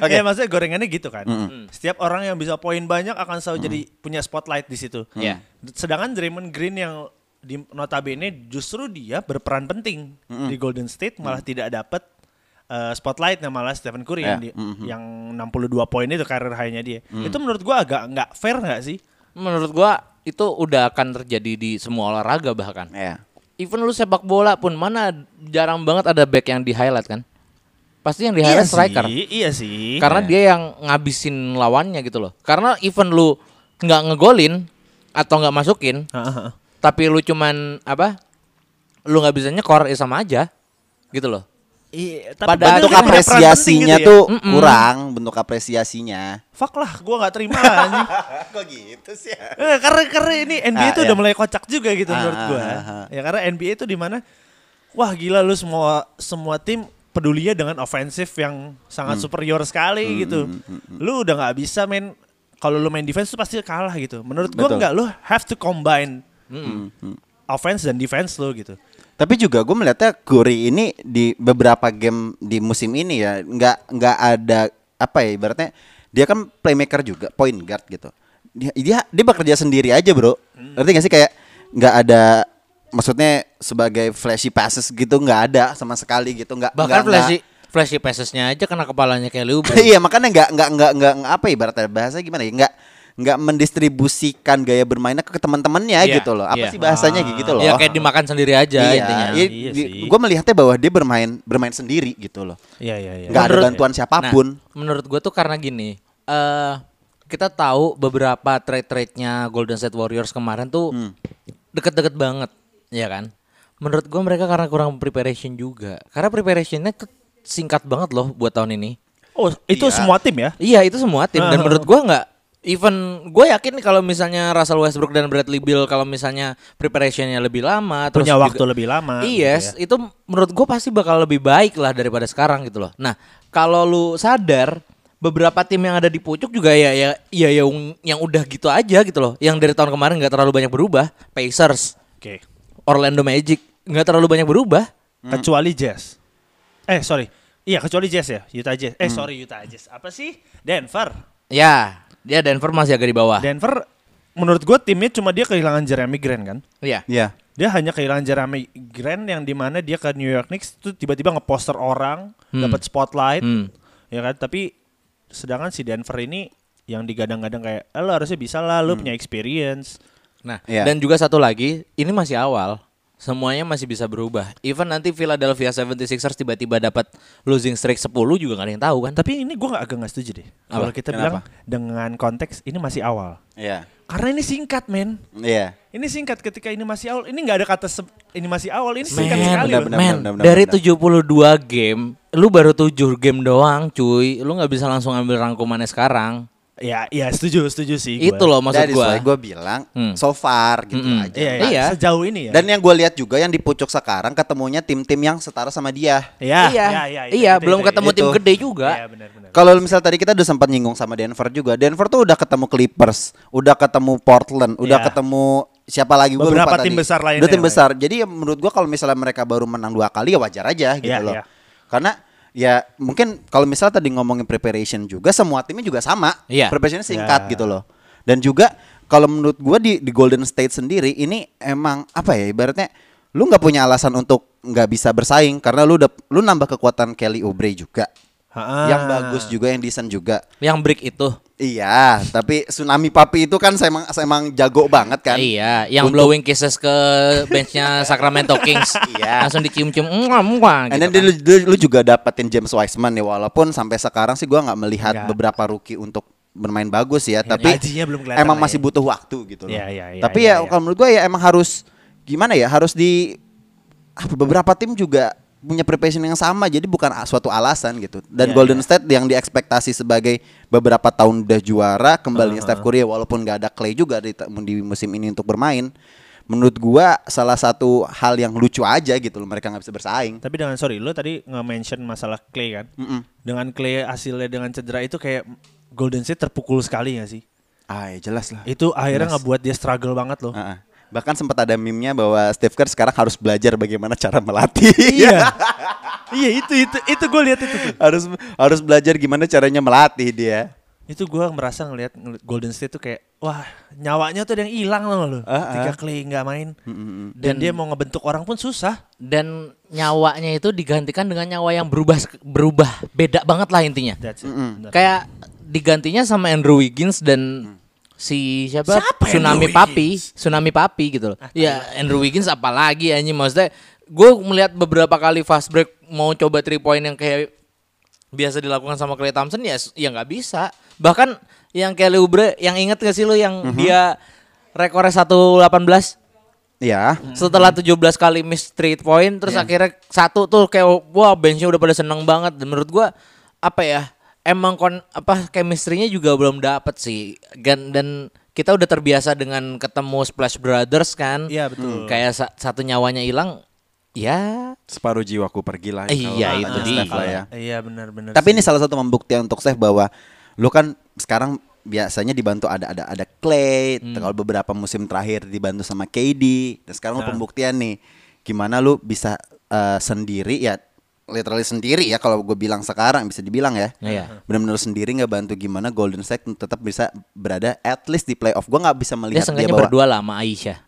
Speaker 1: Oke, maksudnya gorengannya gitu kan.
Speaker 2: Hmm.
Speaker 1: Setiap orang yang bisa poin banyak akan selalu jadi punya spotlight di situ.
Speaker 2: Iya.
Speaker 1: Sedangkan Draymond Green yang di notabene justru dia berperan penting di Golden State malah tidak dapat eh, spotlightnya malah Stephen Curry yang,
Speaker 3: Ya,
Speaker 1: di- yang 62 poin itu karir high-nya dia. Itu menurut gua agak nggak fair nggak sih?
Speaker 2: Menurut gua itu udah akan terjadi di semua olahraga bahkan.
Speaker 3: Iya.
Speaker 2: Even lu sepak bola pun mana jarang banget ada back yang di highlight kan? Pasti yang di
Speaker 1: iya
Speaker 2: highlight striker.
Speaker 1: sih, iya sih.
Speaker 2: Karena dia yang ngabisin lawannya gitu loh. Karena even lu nggak ngegolin atau nggak masukin,
Speaker 1: Heeh.
Speaker 2: tapi lu cuman apa? Lu nggak bisa nyekor ya sama aja. Gitu loh.
Speaker 1: Iya,
Speaker 2: Pada
Speaker 1: bener
Speaker 3: Bentuk
Speaker 1: dia punya peran
Speaker 3: apresiasinya
Speaker 1: penting gitu
Speaker 3: tuh
Speaker 1: ya.
Speaker 3: kurang, bentuk apresiasinya.
Speaker 1: Fuck lah, gua nggak terima lah, anjing.
Speaker 3: Kok gitu sih?
Speaker 1: Eh, karena karena ini NBA
Speaker 3: Ah,
Speaker 1: itu
Speaker 3: iya.
Speaker 1: udah mulai kocak juga gitu
Speaker 3: Ah,
Speaker 1: menurut
Speaker 3: ah,
Speaker 1: gua.
Speaker 3: ah, ah.
Speaker 1: Ya karena NBA itu di mana wah gila lu semua semua tim pedulinya dengan ofensif yang
Speaker 3: Hmm.
Speaker 1: sangat superior sekali gitu. Lu udah nggak bisa main kalau lu main defense tuh pasti kalah gitu. Menurut gua
Speaker 3: Betul. Hmm,
Speaker 1: enggak lu have to combine offense dan defense lu gitu.
Speaker 3: Tapi juga gue melihatnya Curry ini di beberapa game di musim ini ya nggak nggak ada apa ya ibaratnya dia kan playmaker juga point guard gitu dia dia, dia bekerja sendiri aja bro
Speaker 1: Hmm.
Speaker 3: ngerti gak sih kayak nggak ada maksudnya sebagai flashy passes gitu nggak ada sama sekali gitu nggak nggak-
Speaker 2: Bahkan
Speaker 3: nggak-
Speaker 2: flashy flashy passesnya aja kena kepalanya kayak lu.
Speaker 3: iya makanya nggak nggak nggak nggak nggak apa ibaratnya bahasa gimana ya nggak nggak mendistribusikan gaya bermainnya ke teman-temannya
Speaker 2: Iya,
Speaker 3: gitu loh apa
Speaker 2: iya.
Speaker 3: sih bahasanya kayak gitu loh
Speaker 2: Ya kayak dimakan sendiri aja intinya.
Speaker 3: iya,
Speaker 1: Iya sih.
Speaker 3: gue melihatnya bahwa dia bermain bermain sendiri gitu loh
Speaker 1: Iya iya iya.
Speaker 3: nggak ada
Speaker 2: Menurut-
Speaker 3: bantuan siapapun
Speaker 2: Nah, menurut gue tuh karena gini, eh kita tahu beberapa trade-trade-nya Golden State Warriors kemarin tuh deket-deket banget, ya kan? Menurut gue mereka karena kurang preparation juga. Karena preparationnya tuh singkat banget loh buat tahun ini.
Speaker 1: Oh, itu
Speaker 3: Iya.
Speaker 1: semua tim ya?
Speaker 2: Iya itu semua tim dan menurut gua nggak even gue yakin kalau misalnya Russell Westbrook dan Bradley Beal kalau misalnya preparationnya lebih lama
Speaker 1: Punya
Speaker 2: terus
Speaker 1: waktu lebih lama, gitu ya?
Speaker 2: Yes itu menurut gue pasti bakal lebih baik lah daripada sekarang gitu loh. Nah kalau lu sadar beberapa tim yang ada di pucuk juga ya ya ya yang yang udah gitu aja gitu loh. Yang dari tahun kemarin nggak terlalu banyak berubah. Pacers,
Speaker 1: Oke.
Speaker 2: Orlando Magic nggak terlalu banyak berubah.
Speaker 1: Hmm. Kecuali Jazz. Eh, sorry. Iya, kecuali Jazz ya. Utah Jazz. Eh, sorry Utah Jazz. Apa sih? Denver.
Speaker 2: Ya dia Denver masih agak di bawah.
Speaker 1: Denver menurut gue timnya cuma dia kehilangan Jeremy Grant kan.
Speaker 2: Iya.
Speaker 3: Iya.
Speaker 1: Dia hanya kehilangan Jeremy Grant yang dimana dia ke New York Knicks tuh tiba-tiba ngeposter orang, dapat spotlight,
Speaker 2: Hmm.
Speaker 1: ya kan. Tapi sedangkan si Denver ini yang digadang-gadang kayak, "Eh, lo harusnya bisa lah, lo punya experience.
Speaker 2: Nah,
Speaker 3: Iya.
Speaker 2: dan juga satu lagi, ini masih awal. Semuanya masih bisa berubah. Even nanti Philadelphia 76ers tiba-tiba dapat losing streak 10 juga gak ada yang tahu kan.
Speaker 1: Tapi ini gue agak nggak setuju deh. Kalau kita bilang
Speaker 3: Kenapa?
Speaker 1: dengan konteks ini masih awal,
Speaker 3: Iya.
Speaker 1: karena ini singkat men.
Speaker 3: Iya.
Speaker 1: Ini singkat ketika ini masih awal. Ini nggak ada kata se- ini masih awal. Ini
Speaker 2: Man,
Speaker 1: singkat sekali.
Speaker 3: benar,
Speaker 1: loh.
Speaker 3: benar,
Speaker 2: man,
Speaker 3: benar, benar,
Speaker 2: dari
Speaker 3: benar.
Speaker 2: 72 game, lu baru 7 game doang, cuy. Lu nggak bisa langsung ambil rangkumannya sekarang.
Speaker 1: Ya, ya setuju, setuju sih.
Speaker 2: Itu
Speaker 1: gua.
Speaker 2: loh maksud
Speaker 3: That is
Speaker 2: gua.
Speaker 3: why gue bilang
Speaker 2: Hmm.
Speaker 3: so far gitu aja.
Speaker 1: Iya,
Speaker 2: Iya.
Speaker 1: iya. Sejauh ini ya.
Speaker 3: Dan yang gue lihat juga yang di pucuk sekarang ketemunya tim-tim yang setara sama dia.
Speaker 1: Iya,
Speaker 2: iya, iya, belum ketemu tim
Speaker 3: itu.
Speaker 2: gede juga.
Speaker 1: Iya, benar benar.
Speaker 3: Kalau misal tadi kita udah sempat nyinggung sama Denver juga. Denver tuh udah ketemu Clippers, udah ketemu Portland, udah
Speaker 1: Iya.
Speaker 3: ketemu siapa lagi gue lupa
Speaker 1: Beberapa
Speaker 3: tadi.
Speaker 1: tim besar lainnya
Speaker 3: Udah tim
Speaker 1: yang
Speaker 3: besar. Jadi ya menurut gue kalau misalnya mereka baru menang dua kali ya wajar aja gitu
Speaker 1: Iya,
Speaker 3: loh.
Speaker 1: iya.
Speaker 3: Karena ya mungkin kalau misalnya tadi ngomongin preparation juga semua timnya juga sama.
Speaker 2: Iya.
Speaker 3: Preparationnya singkat
Speaker 1: Iya.
Speaker 3: gitu loh. Dan juga kalau menurut gua di di Golden State sendiri ini emang apa ya ibaratnya lu nggak punya alasan untuk nggak bisa bersaing karena lu udah lu nambah kekuatan Kelly Oubre juga.
Speaker 1: Ha-ah.
Speaker 3: Yang bagus juga yang decent juga.
Speaker 2: Yang break itu.
Speaker 3: Iya, tapi tsunami papi itu kan saya emang, saya emang jago banget kan.
Speaker 2: Iya, yang
Speaker 3: Untuk-
Speaker 2: blowing kisses ke benchnya Sacramento Kings.
Speaker 3: Iya.
Speaker 2: Langsung dicium-cium. Mwah, mwah, gitu
Speaker 3: And then
Speaker 2: kan.
Speaker 3: lu, lu- lu juga dapetin James Wiseman ya walaupun sampai sekarang sih gua nggak melihat
Speaker 1: Nggak. Iya,
Speaker 3: beberapa rookie untuk bermain bagus ya, tapi
Speaker 1: gajinya belum kelihatan
Speaker 3: emang
Speaker 1: lah
Speaker 3: masih
Speaker 1: ya.
Speaker 3: butuh waktu gitu loh.
Speaker 1: Iya, iya, iya,
Speaker 3: tapi
Speaker 1: iya,
Speaker 3: ya
Speaker 1: iya.
Speaker 3: kalau menurut gua ya emang harus gimana ya harus di apa, beberapa tim juga punya preparation yang sama jadi bukan a- suatu alasan gitu. Dan
Speaker 1: Iya,
Speaker 3: Golden State yang diekspektasi sebagai beberapa tahun udah juara kembalinya Steph Curry ya, walaupun nggak ada Clay juga di, ta- di musim ini untuk bermain. Menurut gua salah satu hal yang lucu aja gitu loh mereka nggak bisa bersaing.
Speaker 1: Tapi dengan sorry lo tadi nge-mention masalah Clay kan. Dengan Clay hasilnya dengan cedera itu kayak Golden State terpukul sekali gak sih?
Speaker 3: Ah, ya jelas lah.
Speaker 1: Itu akhirnya ngebuat dia struggle banget loh.
Speaker 3: Heeh. Bahkan sempat ada meme-nya bahwa Steve Kerr sekarang harus belajar bagaimana cara melatih.
Speaker 1: Iya. iya itu itu itu gue lihat itu. tuh.
Speaker 3: harus harus belajar gimana caranya melatih dia.
Speaker 1: Itu gue merasa ngelihat ngelihat Golden State tuh kayak wah nyawanya tuh ada yang hilang loh lo.
Speaker 3: Ah,
Speaker 1: Ketika Clay nggak main dan dia mau ngebentuk orang pun susah.
Speaker 2: Dan nyawanya itu digantikan dengan nyawa yang berubah berubah beda banget lah intinya.
Speaker 1: That's it. Bener. Hmm.
Speaker 2: Kayak digantinya sama Andrew Wiggins dan si siapa?
Speaker 1: Siapa Andrew
Speaker 2: Tsunami
Speaker 1: Ah, iya.
Speaker 2: Papi, Tsunami Papi gitu loh. ya, Andrew Wiggins apalagi anjing maksudnya gue melihat beberapa kali fast break mau coba three point yang kayak biasa dilakukan sama Clay Thompson ya s- ya nggak bisa. Bahkan yang Kelly Oubre, yang inget gak sih lu yang
Speaker 1: Mhm.
Speaker 2: dia rekornya 118
Speaker 3: Ya.
Speaker 2: setelah 17 kali miss three point terus
Speaker 1: Iya.
Speaker 2: akhirnya satu tuh kayak wah benchnya udah pada seneng banget dan menurut gua apa ya emang kon apa chemistry-nya juga belum dapet sih dan dan kita udah terbiasa dengan ketemu Splash Brothers kan
Speaker 1: Iya, betul.
Speaker 2: kayak sa- satu nyawanya hilang ya
Speaker 3: Separuh jiwaku pergilah.
Speaker 2: Iya, itu
Speaker 3: kalau kata
Speaker 2: dia.
Speaker 3: Steph lah ya.
Speaker 1: Iya benar-benar.
Speaker 3: Tapi
Speaker 1: sih.
Speaker 3: ini salah satu pembuktian untuk Steph bahwa lu kan sekarang biasanya dibantu ada ada ada Clay,
Speaker 2: Hmm.
Speaker 3: kalau beberapa musim terakhir dibantu sama KD. Dan sekarang lu
Speaker 2: Nah.
Speaker 3: pembuktian nih gimana lu bisa eh, sendiri ya literally sendiri ya kalau gue bilang sekarang bisa dibilang ya.
Speaker 2: Iya.
Speaker 3: Benar-benar sendiri nggak bantu gimana Golden State tetap bisa berada at least di playoff. Gue nggak bisa
Speaker 2: dia
Speaker 3: melihat dia,
Speaker 2: sengaja
Speaker 3: bahwa
Speaker 2: berdua lah sama Aisyah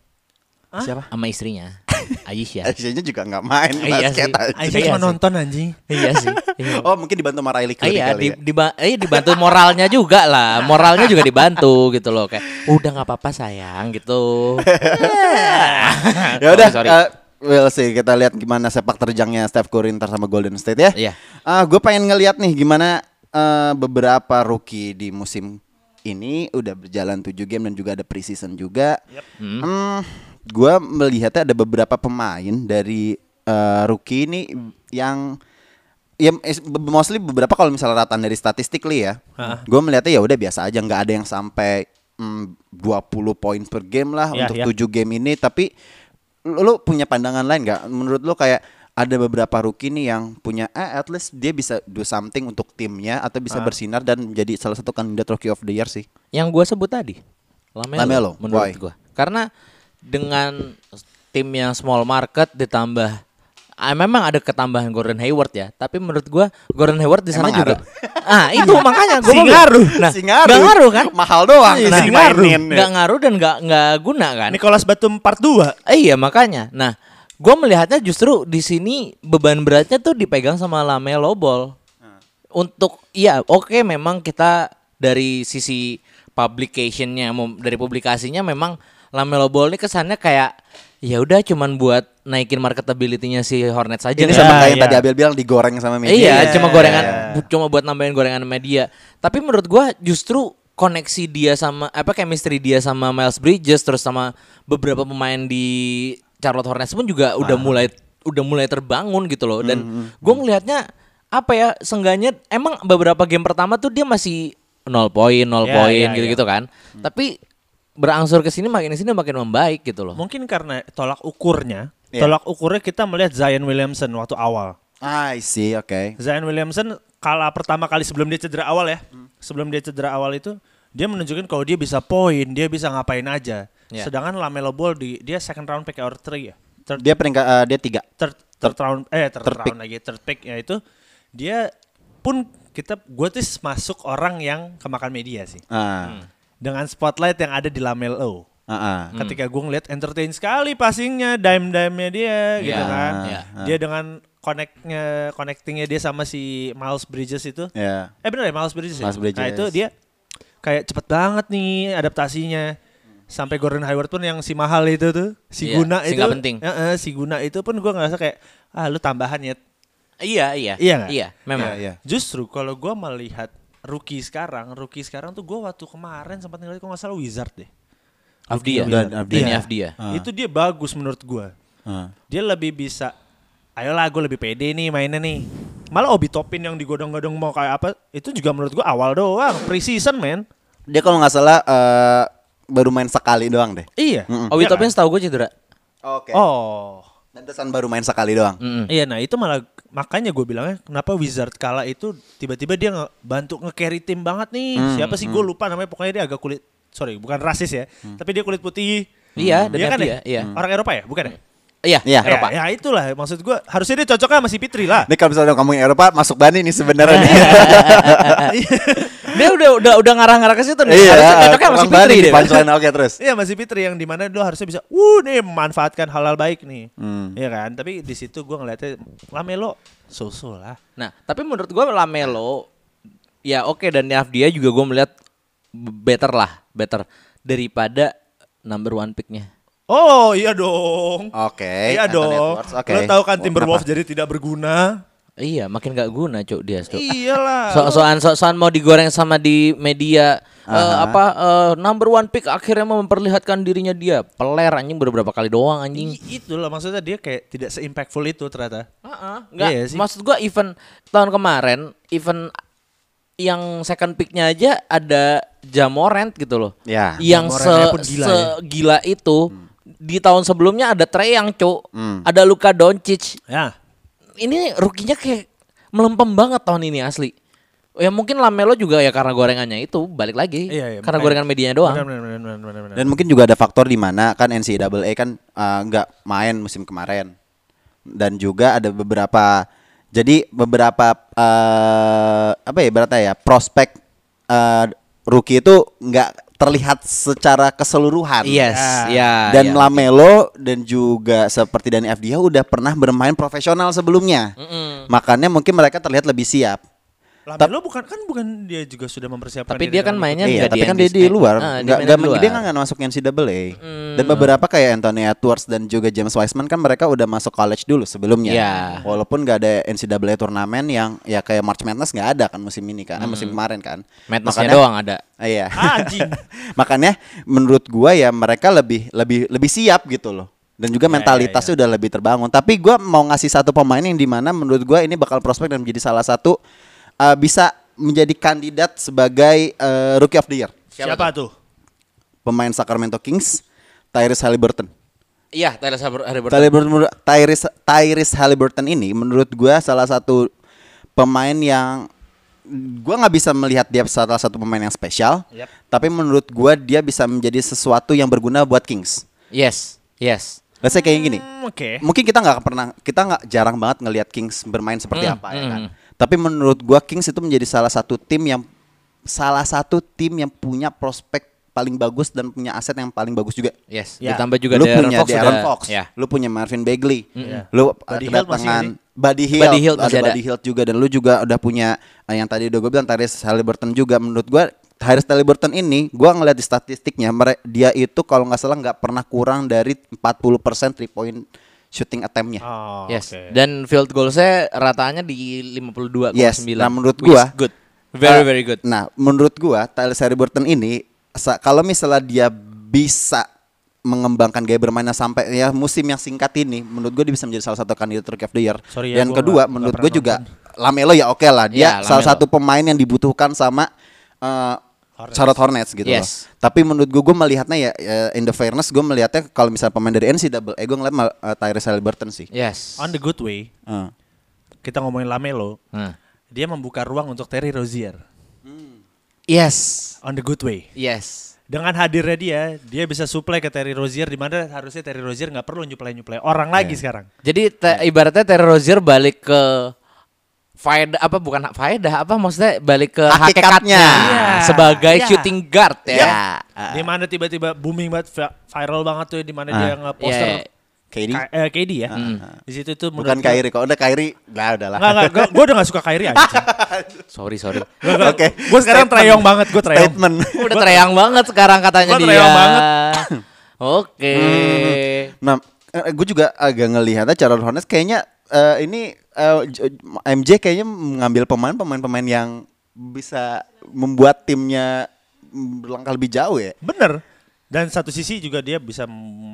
Speaker 3: siapa?
Speaker 2: sama istrinya Aisyah
Speaker 3: Aisyah-nya juga nggak main
Speaker 2: Iya sih.
Speaker 3: basket. aja.
Speaker 1: Aisyah
Speaker 2: Iya
Speaker 1: cuma
Speaker 2: sih.
Speaker 1: nonton anjing.
Speaker 2: iya sih Iya.
Speaker 3: Oh mungkin dibantu sama Riley
Speaker 2: Ah,
Speaker 3: Curry
Speaker 2: iya,
Speaker 3: kali
Speaker 2: di,
Speaker 3: ya.
Speaker 2: diba- eh, dibantu moralnya juga lah, moralnya juga dibantu gitu loh kayak udah nggak apa-apa sayang gitu.
Speaker 3: ya udah eh, we'll see kita lihat gimana sepak terjangnya Steph Curry ntar sama Golden State ya
Speaker 2: Iya.
Speaker 3: Ah, gue pengen ngelihat nih gimana eh, beberapa rookie di musim ini udah berjalan 7 game dan juga ada preseason juga hmm, gue melihatnya ada beberapa pemain dari eh, rookie ini yang ya is- mostly beberapa kalau misalnya rataan dari statistik li ya gue melihatnya ya udah biasa aja nggak ada yang sampai mm, 20 poin per game lah
Speaker 2: Iya,
Speaker 1: Ya,
Speaker 3: untuk
Speaker 1: ya.
Speaker 3: 7 game ini tapi lu lu punya pandangan lain nggak menurut lu kayak ada beberapa rookie nih yang punya eh at least dia bisa do something untuk timnya atau bisa bersinar dan menjadi salah satu kandidat rookie of the year sih
Speaker 2: Yang gua sebut tadi, Lamelo,
Speaker 3: Lamelo,
Speaker 2: menurut
Speaker 3: why?
Speaker 2: gua. Karena dengan tim yang small market ditambah ah, memang ada ketambahan Gordon Hayward ya, tapi menurut gua Gordon Hayward di sana
Speaker 3: Emang
Speaker 2: juga. Ah, itu makanya gua
Speaker 3: Si
Speaker 2: mau bilang.
Speaker 3: ngaruh.
Speaker 2: Nah,
Speaker 3: Si ngaruh.
Speaker 2: nggak ngaruh kan?
Speaker 3: Mahal doang,
Speaker 2: Iya,
Speaker 3: nah,
Speaker 2: si
Speaker 3: dimainin
Speaker 2: ngaruh.
Speaker 3: ya.
Speaker 2: Nggak ngaruh dan nggak nggak guna kan?
Speaker 1: Nicholas Batum part 2.
Speaker 2: Eh, Iya makanya. Nah, gue melihatnya justru di sini beban beratnya tuh dipegang sama Lamelo Ball. Untuk iya oke memang kita dari sisi publicationnya mem- dari publikasinya memang Lamelo Ball ini kesannya kayak ya udah cuman buat naikin marketability-nya si Hornets aja. kan.
Speaker 3: ini
Speaker 2: nih."
Speaker 3: sama kayak yang
Speaker 1: iya.
Speaker 3: tadi Abel bilang digoreng sama media
Speaker 2: Iya,
Speaker 3: Iya.
Speaker 2: cuma gorengan, bu- cuma buat nambahin gorengan media. Tapi menurut gua justru koneksi dia sama apa chemistry dia sama Miles Bridges terus sama beberapa pemain di Charlotte Hornets pun juga udah
Speaker 3: Ah.
Speaker 2: mulai udah mulai terbangun gitu loh. Dan
Speaker 3: Mm-hmm.
Speaker 2: gua ngelihatnya apa ya, sengganya emang beberapa game pertama tuh dia masih 0 poin, 0
Speaker 1: Ya,
Speaker 2: poin
Speaker 1: ya,
Speaker 2: gitu-gitu kan.
Speaker 3: Hmm.
Speaker 2: Tapi berangsur ke sini makin ke sini makin membaik gitu loh.
Speaker 1: Mungkin karena tolak ukurnya,
Speaker 3: Iya.
Speaker 1: tolak ukurnya kita melihat Zion Williamson waktu awal.
Speaker 3: Ah, I see oke
Speaker 1: Zion Williamson kalah pertama kali sebelum dia cedera awal ya. Sebelum dia cedera awal itu dia menunjukkan kalau dia bisa poin, dia bisa ngapain aja.
Speaker 2: Iya.
Speaker 1: Sedangkan Lamelo Ball di dia second round pick or three ya. Third,
Speaker 3: dia peringkat eh, dia tiga
Speaker 1: third, third round eh third,
Speaker 3: Third
Speaker 1: round lagi third pick ya itu dia pun kita gue tuh masuk orang yang kemakan media sih Hmm.
Speaker 3: Ah,
Speaker 1: dengan spotlight yang ada di Lamelo.
Speaker 3: ah, ah.
Speaker 2: Hmm.
Speaker 1: Ketika gue ngeliat entertain sekali passingnya, dime-dimenya dia gitu
Speaker 2: Iya,
Speaker 1: kan.
Speaker 2: iya.
Speaker 1: Dia dengan connectnya, connectingnya dia sama si Miles Bridges itu.
Speaker 3: Ya.
Speaker 1: Eh bener ya Miles Bridges ya?
Speaker 3: Miles Bridges.
Speaker 1: Nah itu dia kayak cepet banget nih adaptasinya. Sampai Gordon Hayward pun yang si mahal itu tuh, si
Speaker 2: Iya,
Speaker 1: guna
Speaker 2: si
Speaker 1: itu.
Speaker 2: nggak penting.
Speaker 1: Eh, eh, si guna itu pun gue ngerasa kayak, ah lu tambahan ya.
Speaker 2: Iya, iya.
Speaker 1: Iya nggak?
Speaker 2: memang.
Speaker 3: Iya, iya.
Speaker 1: Justru kalau gue melihat rookie sekarang, rookie sekarang tuh gue waktu kemarin sempat ngeliat kalau nggak salah Wizard deh. Iya.
Speaker 2: Afdia.
Speaker 3: Dan Afdia.
Speaker 2: Ini Afdia.
Speaker 3: Ah.
Speaker 1: Itu dia bagus menurut gue.
Speaker 3: Ah.
Speaker 1: Dia lebih bisa, ayolah gue lebih pede nih mainnya nih. Malah Obi Topin yang digodong-godong mau kayak apa, itu juga menurut gue awal doang, pre-season man.
Speaker 3: Dia kalau nggak salah eh, baru main sekali doang deh.
Speaker 1: Iya.
Speaker 2: Oh,
Speaker 1: Iya
Speaker 2: Witopin
Speaker 1: kan?
Speaker 2: setahu gue cedera.
Speaker 3: Oke.
Speaker 1: Oh.
Speaker 3: Pantesan baru main sekali doang.
Speaker 1: Iya, nah itu malah makanya gue bilangnya kenapa Wizard kala itu tiba-tiba dia nge bantu nge-carry tim banget nih. Siapa sih gue lupa namanya, pokoknya dia agak kulit sorry, bukan rasis ya, tapi dia kulit putih.
Speaker 2: Iya, dan
Speaker 1: Iya kan
Speaker 2: Afdia,
Speaker 1: ya?
Speaker 2: iya.
Speaker 1: Orang Eropa ya, bukan ya?
Speaker 2: Iya,
Speaker 3: Iya.
Speaker 1: Ya,
Speaker 2: Eropa.
Speaker 1: ya itulah maksud gue harusnya dia cocoknya sama si Fitri lah.
Speaker 3: Ini kalau misalnya ngomongin Eropa masuk Bani nih sebenarnya nih.
Speaker 2: Ah,
Speaker 1: Iya.
Speaker 2: Dia udah udah udah ngarah-ngarah ke situ nih.
Speaker 3: iya,
Speaker 2: Harusnya cocoknya
Speaker 3: orang
Speaker 2: masih
Speaker 3: Bani
Speaker 2: Fitri
Speaker 3: di
Speaker 2: deh.
Speaker 3: punchline oke terus.
Speaker 1: Iya masih Fitri yang dimana lo harusnya bisa, wuh nih manfaatkan halal baik nih,
Speaker 3: Hmm.
Speaker 1: Iya kan? Tapi di situ gue ngeliatnya Lamelo so-so lah.
Speaker 2: Nah, tapi menurut gue Lamelo ya oke dan Afdia juga gue melihat better lah, better daripada number one picknya.
Speaker 1: Oh iya dong.
Speaker 3: Oke.
Speaker 1: iya
Speaker 3: Anthony
Speaker 1: dong.
Speaker 3: Edwards, oke. Oh,
Speaker 1: Lo tahu kan
Speaker 3: Kenapa?
Speaker 1: Timberwolves jadi tidak berguna.
Speaker 2: Iya, makin gak guna cuk dia cuk.
Speaker 3: Iya.
Speaker 1: Iyalah.
Speaker 2: So-soan so-soan mau digoreng sama di media eh, apa eh, number one pick akhirnya mau memperlihatkan dirinya dia peler anjing beberapa kali doang anjing.
Speaker 1: I- itulah maksudnya dia kayak tidak se-impactful itu ternyata.
Speaker 2: Heeh, nggak.
Speaker 1: Iya sih.
Speaker 2: Maksud gua event tahun kemarin, event yang second picknya aja ada Jamorant gitu loh.
Speaker 3: Ya. Hmm.
Speaker 2: Yang
Speaker 1: Jamorantnya pun
Speaker 2: se
Speaker 1: gila ya.
Speaker 2: gila, segila itu. Di tahun sebelumnya ada Trey Young, Cuk. Ada Luka Doncic.
Speaker 1: Ya.
Speaker 2: Ini rukinya kayak melempem banget tahun ini asli. Ya mungkin Lamelo juga ya karena gorengannya itu balik lagi.
Speaker 1: Iya, iya,
Speaker 2: karena
Speaker 1: makanya.
Speaker 2: gorengan medianya doang.
Speaker 1: Benar, benar, benar, benar, benar.
Speaker 3: Dan mungkin juga ada faktor di mana kan NCAA kan eh, nggak main musim kemarin. Dan juga ada beberapa jadi beberapa eh, apa ya berarti ya prospek eh, rookie itu nggak terlihat secara keseluruhan.
Speaker 2: Yes, ya. ya.
Speaker 3: dan Lamelo dan juga seperti dan FDH udah pernah bermain profesional sebelumnya. Makanya mungkin mereka terlihat lebih siap.
Speaker 1: Lamelo bukan kan bukan dia juga sudah mempersiapkan
Speaker 2: Tapi
Speaker 1: diri
Speaker 2: dia kan
Speaker 1: dalam-
Speaker 2: mainnya
Speaker 3: Iya,
Speaker 2: nggak
Speaker 3: tapi kan dia
Speaker 2: NCAA.
Speaker 3: di luar,
Speaker 2: Ah, main
Speaker 3: nggak nggak
Speaker 2: di
Speaker 3: men-
Speaker 2: luar. Hmm.
Speaker 3: dia nggak masuk NCAA. Dan beberapa kayak Anthony Edwards dan juga James Wiseman kan mereka udah masuk college dulu sebelumnya.
Speaker 2: Iya.
Speaker 3: Walaupun nggak ada NCAA turnamen yang ya kayak March Madness nggak ada kan musim ini kan, eh, musim kemarin kan.
Speaker 2: Hmm. Madness-nya
Speaker 3: Makanya-
Speaker 2: doang ada.
Speaker 3: Iya.
Speaker 1: Ah, anjing.
Speaker 3: Makanya menurut gua ya mereka lebih lebih lebih siap gitu loh.
Speaker 1: Iya,
Speaker 3: Dan juga mentalitasnya udah lebih terbangun. Tapi gua mau ngasih satu pemain yang dimana menurut gua ini bakal prospek dan menjadi salah satu uh, bisa menjadi kandidat sebagai uh, rookie of the year.
Speaker 1: Siapa, tuh?
Speaker 3: Pemain Sacramento Kings, Tyrese Halliburton.
Speaker 2: Iya, Tyler Sabur- Haliburton.
Speaker 3: Halliburton menurut- Tyrese Tyrese Halliburton ini menurut gua salah satu pemain yang gua nggak bisa melihat dia salah satu pemain yang spesial.
Speaker 1: Yap.
Speaker 3: Tapi menurut gua dia bisa menjadi sesuatu yang berguna buat Kings.
Speaker 2: Yes, yes.
Speaker 3: Let's say kayak gini.
Speaker 1: Hmm, Oke.
Speaker 3: Mungkin kita nggak pernah, kita nggak jarang banget ngelihat Kings bermain seperti apa ya kan. Tapi menurut gua Kings itu menjadi salah satu tim yang salah satu tim yang punya prospek paling bagus dan punya aset yang paling bagus juga.
Speaker 2: Yes,
Speaker 1: Ya.
Speaker 2: ditambah juga
Speaker 3: lu
Speaker 2: Darren
Speaker 3: punya
Speaker 2: Fox
Speaker 3: Darren
Speaker 2: sudah-
Speaker 3: Fox,
Speaker 2: Ya.
Speaker 3: lu punya Marvin Bagley,
Speaker 1: Iya.
Speaker 3: lu uh,
Speaker 1: Buddy Hield masih
Speaker 3: kedatangan
Speaker 1: nggak
Speaker 3: Buddy Hield,
Speaker 2: Buddy Hield
Speaker 3: ada
Speaker 2: masih ada.
Speaker 3: Buddy Hield juga dan lu juga udah punya eh, yang tadi udah gue bilang Tyrese Halliburton juga menurut gue Tyrese Halliburton ini gue ngeliat di statistiknya mere- dia itu kalau nggak salah nggak pernah kurang dari 40% three point shooting attempt-nya.
Speaker 1: Oh,
Speaker 2: yes.
Speaker 1: oke.
Speaker 2: Dan field goal saya ratanya di 52,9.
Speaker 3: Yes, nah menurut
Speaker 2: which is
Speaker 3: gua-
Speaker 2: good. Very
Speaker 3: Uh,
Speaker 2: very good.
Speaker 3: Nah, menurut gua Tyrese Halliburton ini sa- kalau misalnya dia bisa mengembangkan gaya bermainnya sampai ya musim yang singkat ini, menurut gua dia bisa menjadi salah satu kandidat rookie of the year.
Speaker 1: Sorry ya,
Speaker 3: Dan
Speaker 1: gua
Speaker 3: kedua,
Speaker 1: nggak- nggak
Speaker 3: menurut
Speaker 1: pernah
Speaker 3: gua juga Lamelo ya oke lah, dia
Speaker 2: Iya,
Speaker 3: salah
Speaker 2: Lamelo.
Speaker 3: satu pemain yang dibutuhkan sama eh, Charlotte Hornets gitu
Speaker 2: Yes.
Speaker 3: loh. Tapi menurut gua gua melihatnya ya eh, in the fairness gua melihatnya kalau misalnya pemain dari NCAA, eh, gua ngeliat mal- eh, Tyrese Halliburton sih.
Speaker 2: Yes.
Speaker 1: On the good way,
Speaker 3: Eh.
Speaker 1: kita ngomongin Lamelo,
Speaker 2: Nah.
Speaker 1: dia membuka ruang untuk Terry Rozier.
Speaker 2: Yes.
Speaker 1: On the good way.
Speaker 2: Yes.
Speaker 1: Dengan hadirnya dia, dia bisa supply ke Terry Rozier di mana harusnya Terry Rozier
Speaker 3: Iya.
Speaker 1: nggak perlu nyuplai nyuplai orang lagi sekarang.
Speaker 2: Jadi te- ibaratnya Terry Rozier balik ke faedah apa bukan faedah apa maksudnya balik ke
Speaker 3: Hakikatnya.
Speaker 2: hakikatnya
Speaker 3: Iya.
Speaker 2: sebagai
Speaker 1: Iya.
Speaker 2: shooting guard ya.
Speaker 3: Ya.
Speaker 1: di mana tiba-tiba booming banget vi- viral banget tuh di mana
Speaker 3: Ah.
Speaker 1: dia ngeposter
Speaker 2: Iya, iya.
Speaker 3: KD
Speaker 1: Ka- eh, KD ya. Di situ tuh
Speaker 3: Hmm. bukan Kairi kok. Udah Kairi. Lah udahlah.
Speaker 1: Enggak enggak gua, gua udah gak suka Kyrie anjing.
Speaker 2: Sorry, sorry.
Speaker 3: Oke.
Speaker 1: Gua sekarang
Speaker 3: Statement.
Speaker 1: treyong banget, gua treyong.
Speaker 3: Statement.
Speaker 2: Udah tereyang banget sekarang katanya
Speaker 1: Gua
Speaker 2: dia.
Speaker 1: tereyang banget. Hmm.
Speaker 2: Oke.
Speaker 3: Nah, gue juga agak ngelihatnya Charles Hornets kayaknya eh, ini eh, J- MJ kayaknya mengambil pemain-pemain-pemain yang bisa membuat timnya berlangkah lebih jauh ya.
Speaker 1: Bener. Dan satu sisi juga dia bisa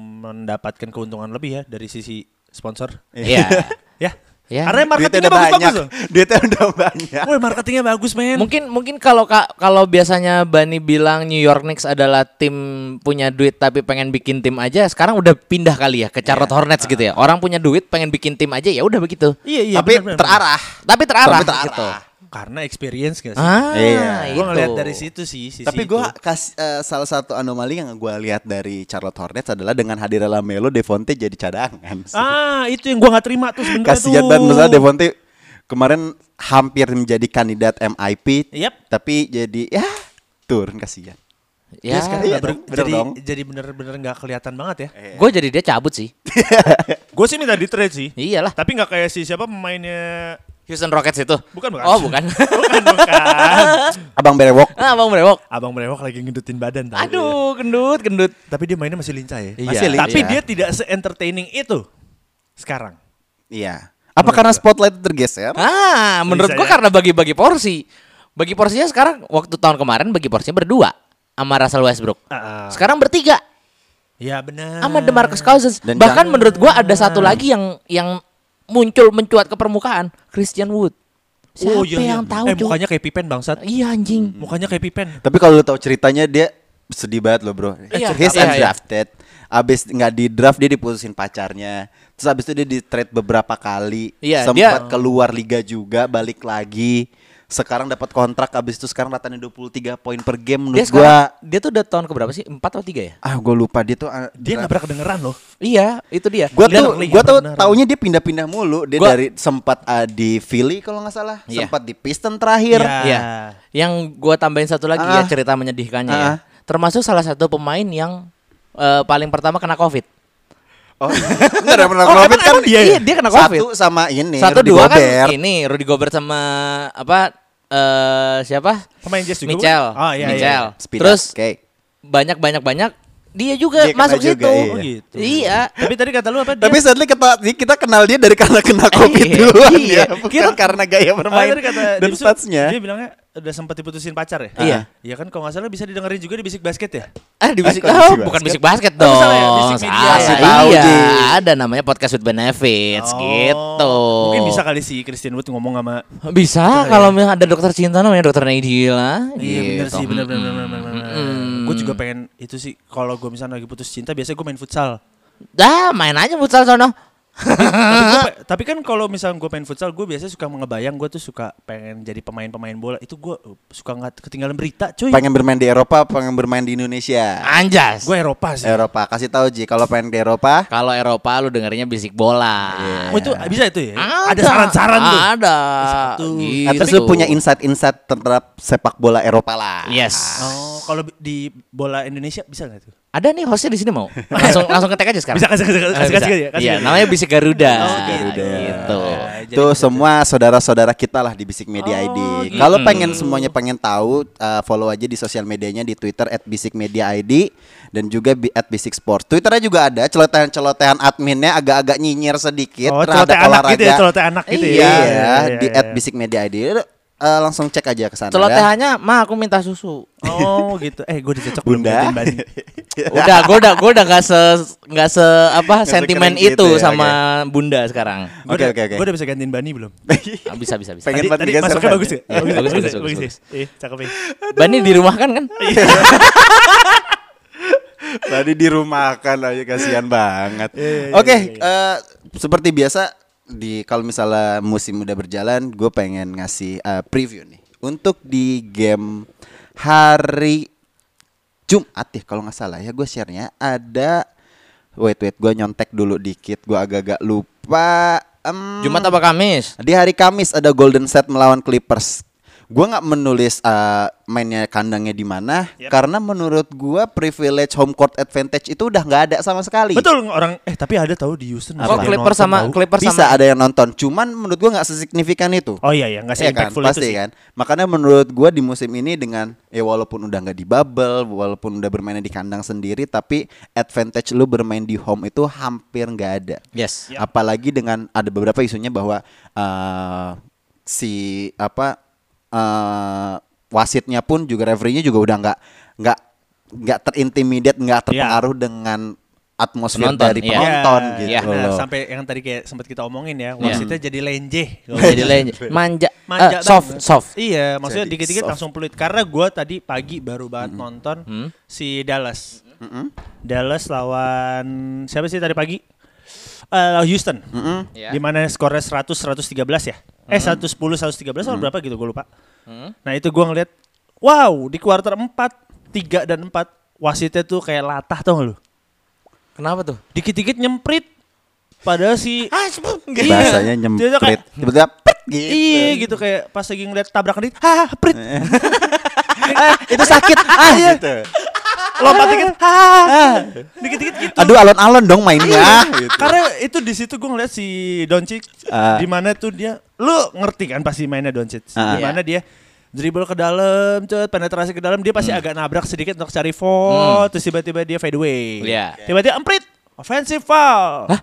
Speaker 1: mendapatkan keuntungan lebih ya dari sisi sponsor.
Speaker 2: Iya.
Speaker 1: Ya.
Speaker 2: Ya.
Speaker 1: Karena
Speaker 3: Iya. Duitnya
Speaker 1: marketingnya
Speaker 3: udah banyak.
Speaker 1: bagus-bagus loh.
Speaker 3: Duitnya udah banyak.
Speaker 1: Woi, marketingnya bagus, men.
Speaker 2: Mungkin mungkin kalau ka- kalau biasanya Bani bilang New York Knicks adalah tim punya duit tapi pengen bikin tim aja, sekarang udah pindah kali ya ke
Speaker 1: Iya.
Speaker 2: Charlotte Hornets gitu ya. Orang punya duit pengen bikin tim aja ya udah begitu.
Speaker 1: Ah. Iya, iya.
Speaker 3: Tapi
Speaker 1: bener, bener,
Speaker 3: terarah.
Speaker 2: Tapi terarah.
Speaker 3: Tapi terarah.
Speaker 2: gitu.
Speaker 1: bener. Karena experience gak sih? Nah,
Speaker 2: Ah,
Speaker 3: Iya.
Speaker 2: itu.
Speaker 1: Gua ngeliat dari situ sih, sisi
Speaker 3: Tapi gue
Speaker 1: itu.
Speaker 3: salah satu anomali yang gue lihat dari Charlotte Hornets adalah dengan hadirnya Lamelo, Devonte jadi cadangan. sih.
Speaker 1: Ah, itu yang gua gak terima tuh sebenarnya tuh.
Speaker 3: Kasihan banget misalnya Devonte kemarin hampir menjadi kandidat MIP,
Speaker 1: Yep.
Speaker 3: tapi jadi ya turun kasihan.
Speaker 2: Ya,
Speaker 1: Dia sekarang
Speaker 3: Iya
Speaker 1: nggak ber-
Speaker 3: dong, bener
Speaker 1: jadi,
Speaker 3: dong. Eh.
Speaker 1: jadi bener-bener gak kelihatan banget ya.
Speaker 2: gue jadi dia cabut sih.
Speaker 1: Gue sih minta di trade sih.
Speaker 2: Iyalah.
Speaker 1: Tapi nggak kayak si siapa pemainnya
Speaker 2: Houston Rockets itu.
Speaker 1: Bukan, bukan.
Speaker 2: Oh, bukan.
Speaker 1: bukan bukan.
Speaker 3: Abang Berewok
Speaker 2: ah, Bang Brewok.
Speaker 1: kan. Abang Merewok lagi ngedutin badan tau.
Speaker 2: Aduh, gendut, gendut.
Speaker 1: Tapi dia mainnya masih lincah ya.
Speaker 2: Iya,
Speaker 1: Masih lincah. Tapi
Speaker 2: iya.
Speaker 1: dia tidak se-entertaining itu sekarang.
Speaker 3: Iya. Apa karena spotlight tergeser?
Speaker 2: Ah, menurut
Speaker 1: Bisa
Speaker 2: gua
Speaker 1: ya.
Speaker 2: karena bagi-bagi porsi. Bagi porsinya sekarang waktu tahun kemarin bagi porsinya berdua sama Russell Westbrook.
Speaker 1: Ah.
Speaker 2: Sekarang bertiga
Speaker 1: Ya benar.
Speaker 2: sama DeMarcus Cousins.
Speaker 3: Dan
Speaker 2: Bahkan
Speaker 3: jangan-
Speaker 2: menurut gua ada satu
Speaker 1: Ah.
Speaker 2: lagi yang yang muncul mencuat ke permukaan, Christian Wood. Siapa
Speaker 1: Oh, iya, iya.
Speaker 2: yang tahu,
Speaker 1: Eh
Speaker 2: Cuk?
Speaker 1: mukanya kayak Pipen bangsat.
Speaker 2: Iya anjing.
Speaker 1: Mukanya kayak Pipen.
Speaker 3: Tapi kalau lu tahu ceritanya dia sedih banget loh bro.
Speaker 2: Iya,
Speaker 3: He's
Speaker 2: iya, iya.
Speaker 3: undrafted. Abis nggak di draft dia diputusin pacarnya. Terus abis itu dia di trade beberapa kali.
Speaker 2: Iya,
Speaker 3: sempat
Speaker 2: dia-
Speaker 3: keluar liga juga, balik lagi. Sekarang dapat kontrak abis itu sekarang ratanya 23 poin per game
Speaker 2: Dia
Speaker 3: menurut
Speaker 2: sekarang,
Speaker 3: gua.
Speaker 2: dia tuh udah tahun keberapa sih? Empat atau tiga ya?
Speaker 3: Ah, gua lupa dia tuh ah,
Speaker 1: Dia nggak pernah kedengeran loh.
Speaker 2: Iya, itu dia.
Speaker 3: Gua
Speaker 1: Dia
Speaker 3: tuh
Speaker 1: early,
Speaker 3: gua tuh
Speaker 1: bener.
Speaker 3: taunya dia pindah-pindah mulu. Dia
Speaker 2: Gua-
Speaker 3: dari sempat ah, di Philly kalau nggak salah,
Speaker 2: Iya.
Speaker 3: sempat di Piston terakhir.
Speaker 1: Iya.
Speaker 2: Iya. Yang gua tambahin satu lagi ya
Speaker 3: Ah.
Speaker 2: cerita menyedihkannya ya.
Speaker 3: Ah.
Speaker 2: Termasuk salah satu pemain yang eh, paling pertama kena Covid.
Speaker 3: Oh, enggak ada pernah
Speaker 2: Oh, emang-
Speaker 3: covid kan?
Speaker 2: emang dia ya? Iya, dia kena Covid.
Speaker 3: Satu sama ini.
Speaker 2: Satu
Speaker 3: Rudy
Speaker 2: dua
Speaker 3: Gobert.
Speaker 2: kan ini Rudy Gobert sama apa eh siapa?
Speaker 1: Pemain Jazz juga.
Speaker 2: Mitchell.
Speaker 1: bukan? Ah iya iya.
Speaker 2: Mitchell.
Speaker 3: Speed
Speaker 2: Terus
Speaker 3: up, oke.
Speaker 2: banyak banyak banyak dia juga
Speaker 3: Dia kena
Speaker 2: masuk situ.
Speaker 3: juga, iya.
Speaker 1: Oh, gitu.
Speaker 2: Iya.
Speaker 1: Tapi tadi kata lu apa dia?
Speaker 3: Tapi sadly kita, kita kenal dia dari karena kena covid
Speaker 2: Iya,
Speaker 3: duluan
Speaker 2: iya.
Speaker 3: ya. Bukan
Speaker 2: Kita-
Speaker 3: karena
Speaker 1: Ah,
Speaker 3: gaya bermain
Speaker 1: tadi kata
Speaker 3: dan
Speaker 1: Dipsu,
Speaker 3: statsnya.
Speaker 1: Dia bilangnya udah sempat diputusin pacar ya?
Speaker 2: Iya.
Speaker 1: Iya kan kalau nggak salah bisa didengerin juga di bisik basket ya?
Speaker 2: Ah di bisik,
Speaker 3: kok di
Speaker 2: oh,
Speaker 3: bisik
Speaker 2: bukan
Speaker 3: basket?
Speaker 2: bisik basket
Speaker 1: Oh,
Speaker 2: dong.
Speaker 1: salah ya, bisik media.
Speaker 2: Salah,
Speaker 3: Kasih tahu,
Speaker 2: iya,
Speaker 3: Ji.
Speaker 2: ada namanya podcast with benefits
Speaker 1: Oh,
Speaker 2: gitu.
Speaker 1: Mungkin bisa kan? kali si Christian Wood ngomong sama
Speaker 2: Bisa kalau memang ada dokter cinta namanya dokter Nadila.
Speaker 1: Iya bener
Speaker 2: gitu.
Speaker 1: sih bener bener bener bener, bener. Gue juga pengen itu sih kalau gue misalnya lagi putus cinta biasanya gue main futsal
Speaker 2: Dah main aja futsal sono.
Speaker 1: tapi, gua pe- tapi kan kalau misalnya gue main futsal gue biasanya suka ngebayang gue tuh suka pengen jadi pemain-pemain bola itu gue suka nggak ketinggalan berita cuy
Speaker 3: Pengen bermain di Eropa, pengen bermain di
Speaker 2: Ah.
Speaker 3: Indonesia.
Speaker 2: Anjas.
Speaker 1: gue Eropa sih
Speaker 3: Eropa, kasih tahu Ji kalau pengen ke Eropa.
Speaker 2: Kalau Eropa lu dengerinnya bisik bola.
Speaker 1: Oh, itu bisa itu ya ada saran-saran tuh
Speaker 2: Ada. Gitu.
Speaker 1: Satu.
Speaker 2: Iya,
Speaker 3: Nah, terus lu punya insight-insight terhadap sepak bola Eropa lah.
Speaker 2: Yes.
Speaker 1: oh kalau bi- di bola Indonesia bisa nggak tuh
Speaker 3: Oh.
Speaker 2: Ada nih hostnya di sini mau. Langsung langsung ketek aja sekarang.
Speaker 1: Bisa, kasih, kasih,
Speaker 2: Eh,
Speaker 1: kasih,
Speaker 2: bisa.
Speaker 1: kasih, kasih, kasih.
Speaker 2: Iya, namanya bisik Garuda.
Speaker 1: Oh, Garuda.
Speaker 2: Gitu.
Speaker 1: Ah, jadi
Speaker 3: Itu
Speaker 1: bisa
Speaker 3: semua saudara-saudara kita lah di Bisik Media ID.
Speaker 1: gitu.
Speaker 3: Kalau pengen semuanya pengen tahu, uh, follow aja di sosial medianya di Twitter @bisikmediaid dan juga bi- @bisiksport. Twitternya juga ada celotehan-celotehan adminnya agak-agak nyinyir sedikit
Speaker 1: Oh,
Speaker 3: terhadap
Speaker 1: celoteh anak gitu ya, celoteh anak gitu ya.
Speaker 3: Iya,
Speaker 1: Iya, iya,
Speaker 3: di
Speaker 1: iya.
Speaker 3: @bisikmediaid. Uh, langsung cek aja ke sana. ya.
Speaker 2: Celotehannya, mah aku minta susu.
Speaker 1: oh gitu eh gue dicocok belum
Speaker 3: Bunda.
Speaker 1: buatin ban.
Speaker 2: Udah, gue udah, gue udah gak se, gak se apa
Speaker 3: Nggak
Speaker 2: sentimen
Speaker 3: sekeren
Speaker 2: itu
Speaker 3: gitu ya,
Speaker 2: sama bunda sekarang.
Speaker 1: Gua
Speaker 3: Oke,
Speaker 1: udah-
Speaker 3: oke, oke.
Speaker 1: Gua udah bisa gantiin Bani belum?
Speaker 2: Ah, bisa, bisa, bisa.
Speaker 3: Pengen
Speaker 1: Tadi,
Speaker 3: banget
Speaker 1: tadi
Speaker 3: digeser
Speaker 1: masuknya
Speaker 3: ban,
Speaker 1: bagus
Speaker 3: ya?
Speaker 1: ya? Bagus,
Speaker 2: Bagus,
Speaker 1: bagus,
Speaker 2: bagus,
Speaker 1: ya?
Speaker 2: bagus,
Speaker 1: bagus. ya? Iya, cakep ya.
Speaker 2: Bani di rumah kan kan?
Speaker 3: Tadi dirumahkan aja kasihan banget. Oke, eh, seperti biasa di kalau misalnya musim udah berjalan, gue pengen ngasih eh, preview nih untuk di game hari Jumat ya kalau nggak salah ya gue sharenya ada wait wait gue nyontek dulu dikit gue agak-agak lupa em,
Speaker 2: Jumat apa Kamis?
Speaker 3: Di hari Kamis ada Golden State melawan Clippers. Gua nggak menulis eh, mainnya kandangnya di mana
Speaker 1: Yep.
Speaker 3: karena menurut gua privilege home court advantage itu udah nggak ada sama sekali.
Speaker 1: Betul orang eh tapi ada tahu di Houston. ada
Speaker 2: Kok
Speaker 1: yang
Speaker 2: Clippers
Speaker 1: nonton
Speaker 2: sama
Speaker 1: tahu.
Speaker 2: Clippers
Speaker 3: Bisa
Speaker 2: sama
Speaker 3: ada yang nonton, cuman menurut gua nggak sesignifikan itu.
Speaker 1: Oh iya iya nggak sih
Speaker 3: Iya kan,
Speaker 1: impactful itu
Speaker 3: pasti
Speaker 1: sih.
Speaker 3: kan. Makanya menurut gua di musim ini dengan ya walaupun udah nggak di bubble, walaupun udah bermainnya di kandang sendiri, tapi advantage lu bermain di home itu hampir nggak ada.
Speaker 2: Yes.
Speaker 1: Yap.
Speaker 3: Apalagi dengan ada beberapa isunya bahwa eh, si apa eh, wasitnya pun juga referee-nya juga udah nggak nggak nggak terintimidate, nggak terpengaruh dengan atmosfer
Speaker 2: Penonton,
Speaker 3: dari
Speaker 2: iya.
Speaker 3: penonton
Speaker 1: Iya. Iya,
Speaker 3: gitu
Speaker 2: iya.
Speaker 1: benar.
Speaker 3: loh.
Speaker 1: sampai yang tadi kayak sempat kita omongin ya,
Speaker 2: Iya.
Speaker 1: wasitnya jadi lenjeh.
Speaker 2: Jadi lain manja,
Speaker 1: Manja
Speaker 2: eh, soft
Speaker 1: banget.
Speaker 2: soft.
Speaker 1: Iya, maksudnya
Speaker 3: Jadi
Speaker 1: dikit-dikit
Speaker 3: soft.
Speaker 1: langsung peluit karena gua tadi pagi baru banget nonton
Speaker 2: Hmm?
Speaker 1: si Dallas. Dallas lawan siapa sih tadi pagi? Eh, Houston.
Speaker 2: Iya.
Speaker 1: Di mana skornya 100 113 ya? Eh 110 113 atau berapa gitu gue lupa. Nah, itu gua ngeliat wow, di kuarter 4, 3 dan 4 wasitnya tuh kayak latah tau gak lu?
Speaker 2: Kenapa tuh?
Speaker 1: Dikit-dikit nyemprit padahal si Iya.
Speaker 3: Bahasanya nyemprit,
Speaker 1: Dia tuh kayak-
Speaker 3: tiba-tiba pet gitu.
Speaker 1: Iya gitu kayak pas lagi ngeliat tabrakan dikit, ha prit.
Speaker 3: itu sakit
Speaker 1: Iya.
Speaker 3: ah gitu.
Speaker 1: Lompat dikit, ha dikit-dikit gitu.
Speaker 3: Aduh alon-alon dong
Speaker 1: Iya.
Speaker 3: mainnya. Gitu.
Speaker 1: Karena itu di situ gue ngeliat si Doncic
Speaker 3: Ah.
Speaker 1: di mana tuh dia lu ngerti kan pasti mainnya Doncic.
Speaker 3: Ah.
Speaker 1: Di mana dia dribble ke dalam, cut, penetrasi ke dalam, dia pasti agak nabrak sedikit untuk cari foul, terus tiba-tiba dia fade away.
Speaker 2: Iya.
Speaker 1: Tiba-tiba emprit, offensive foul.
Speaker 2: Hah?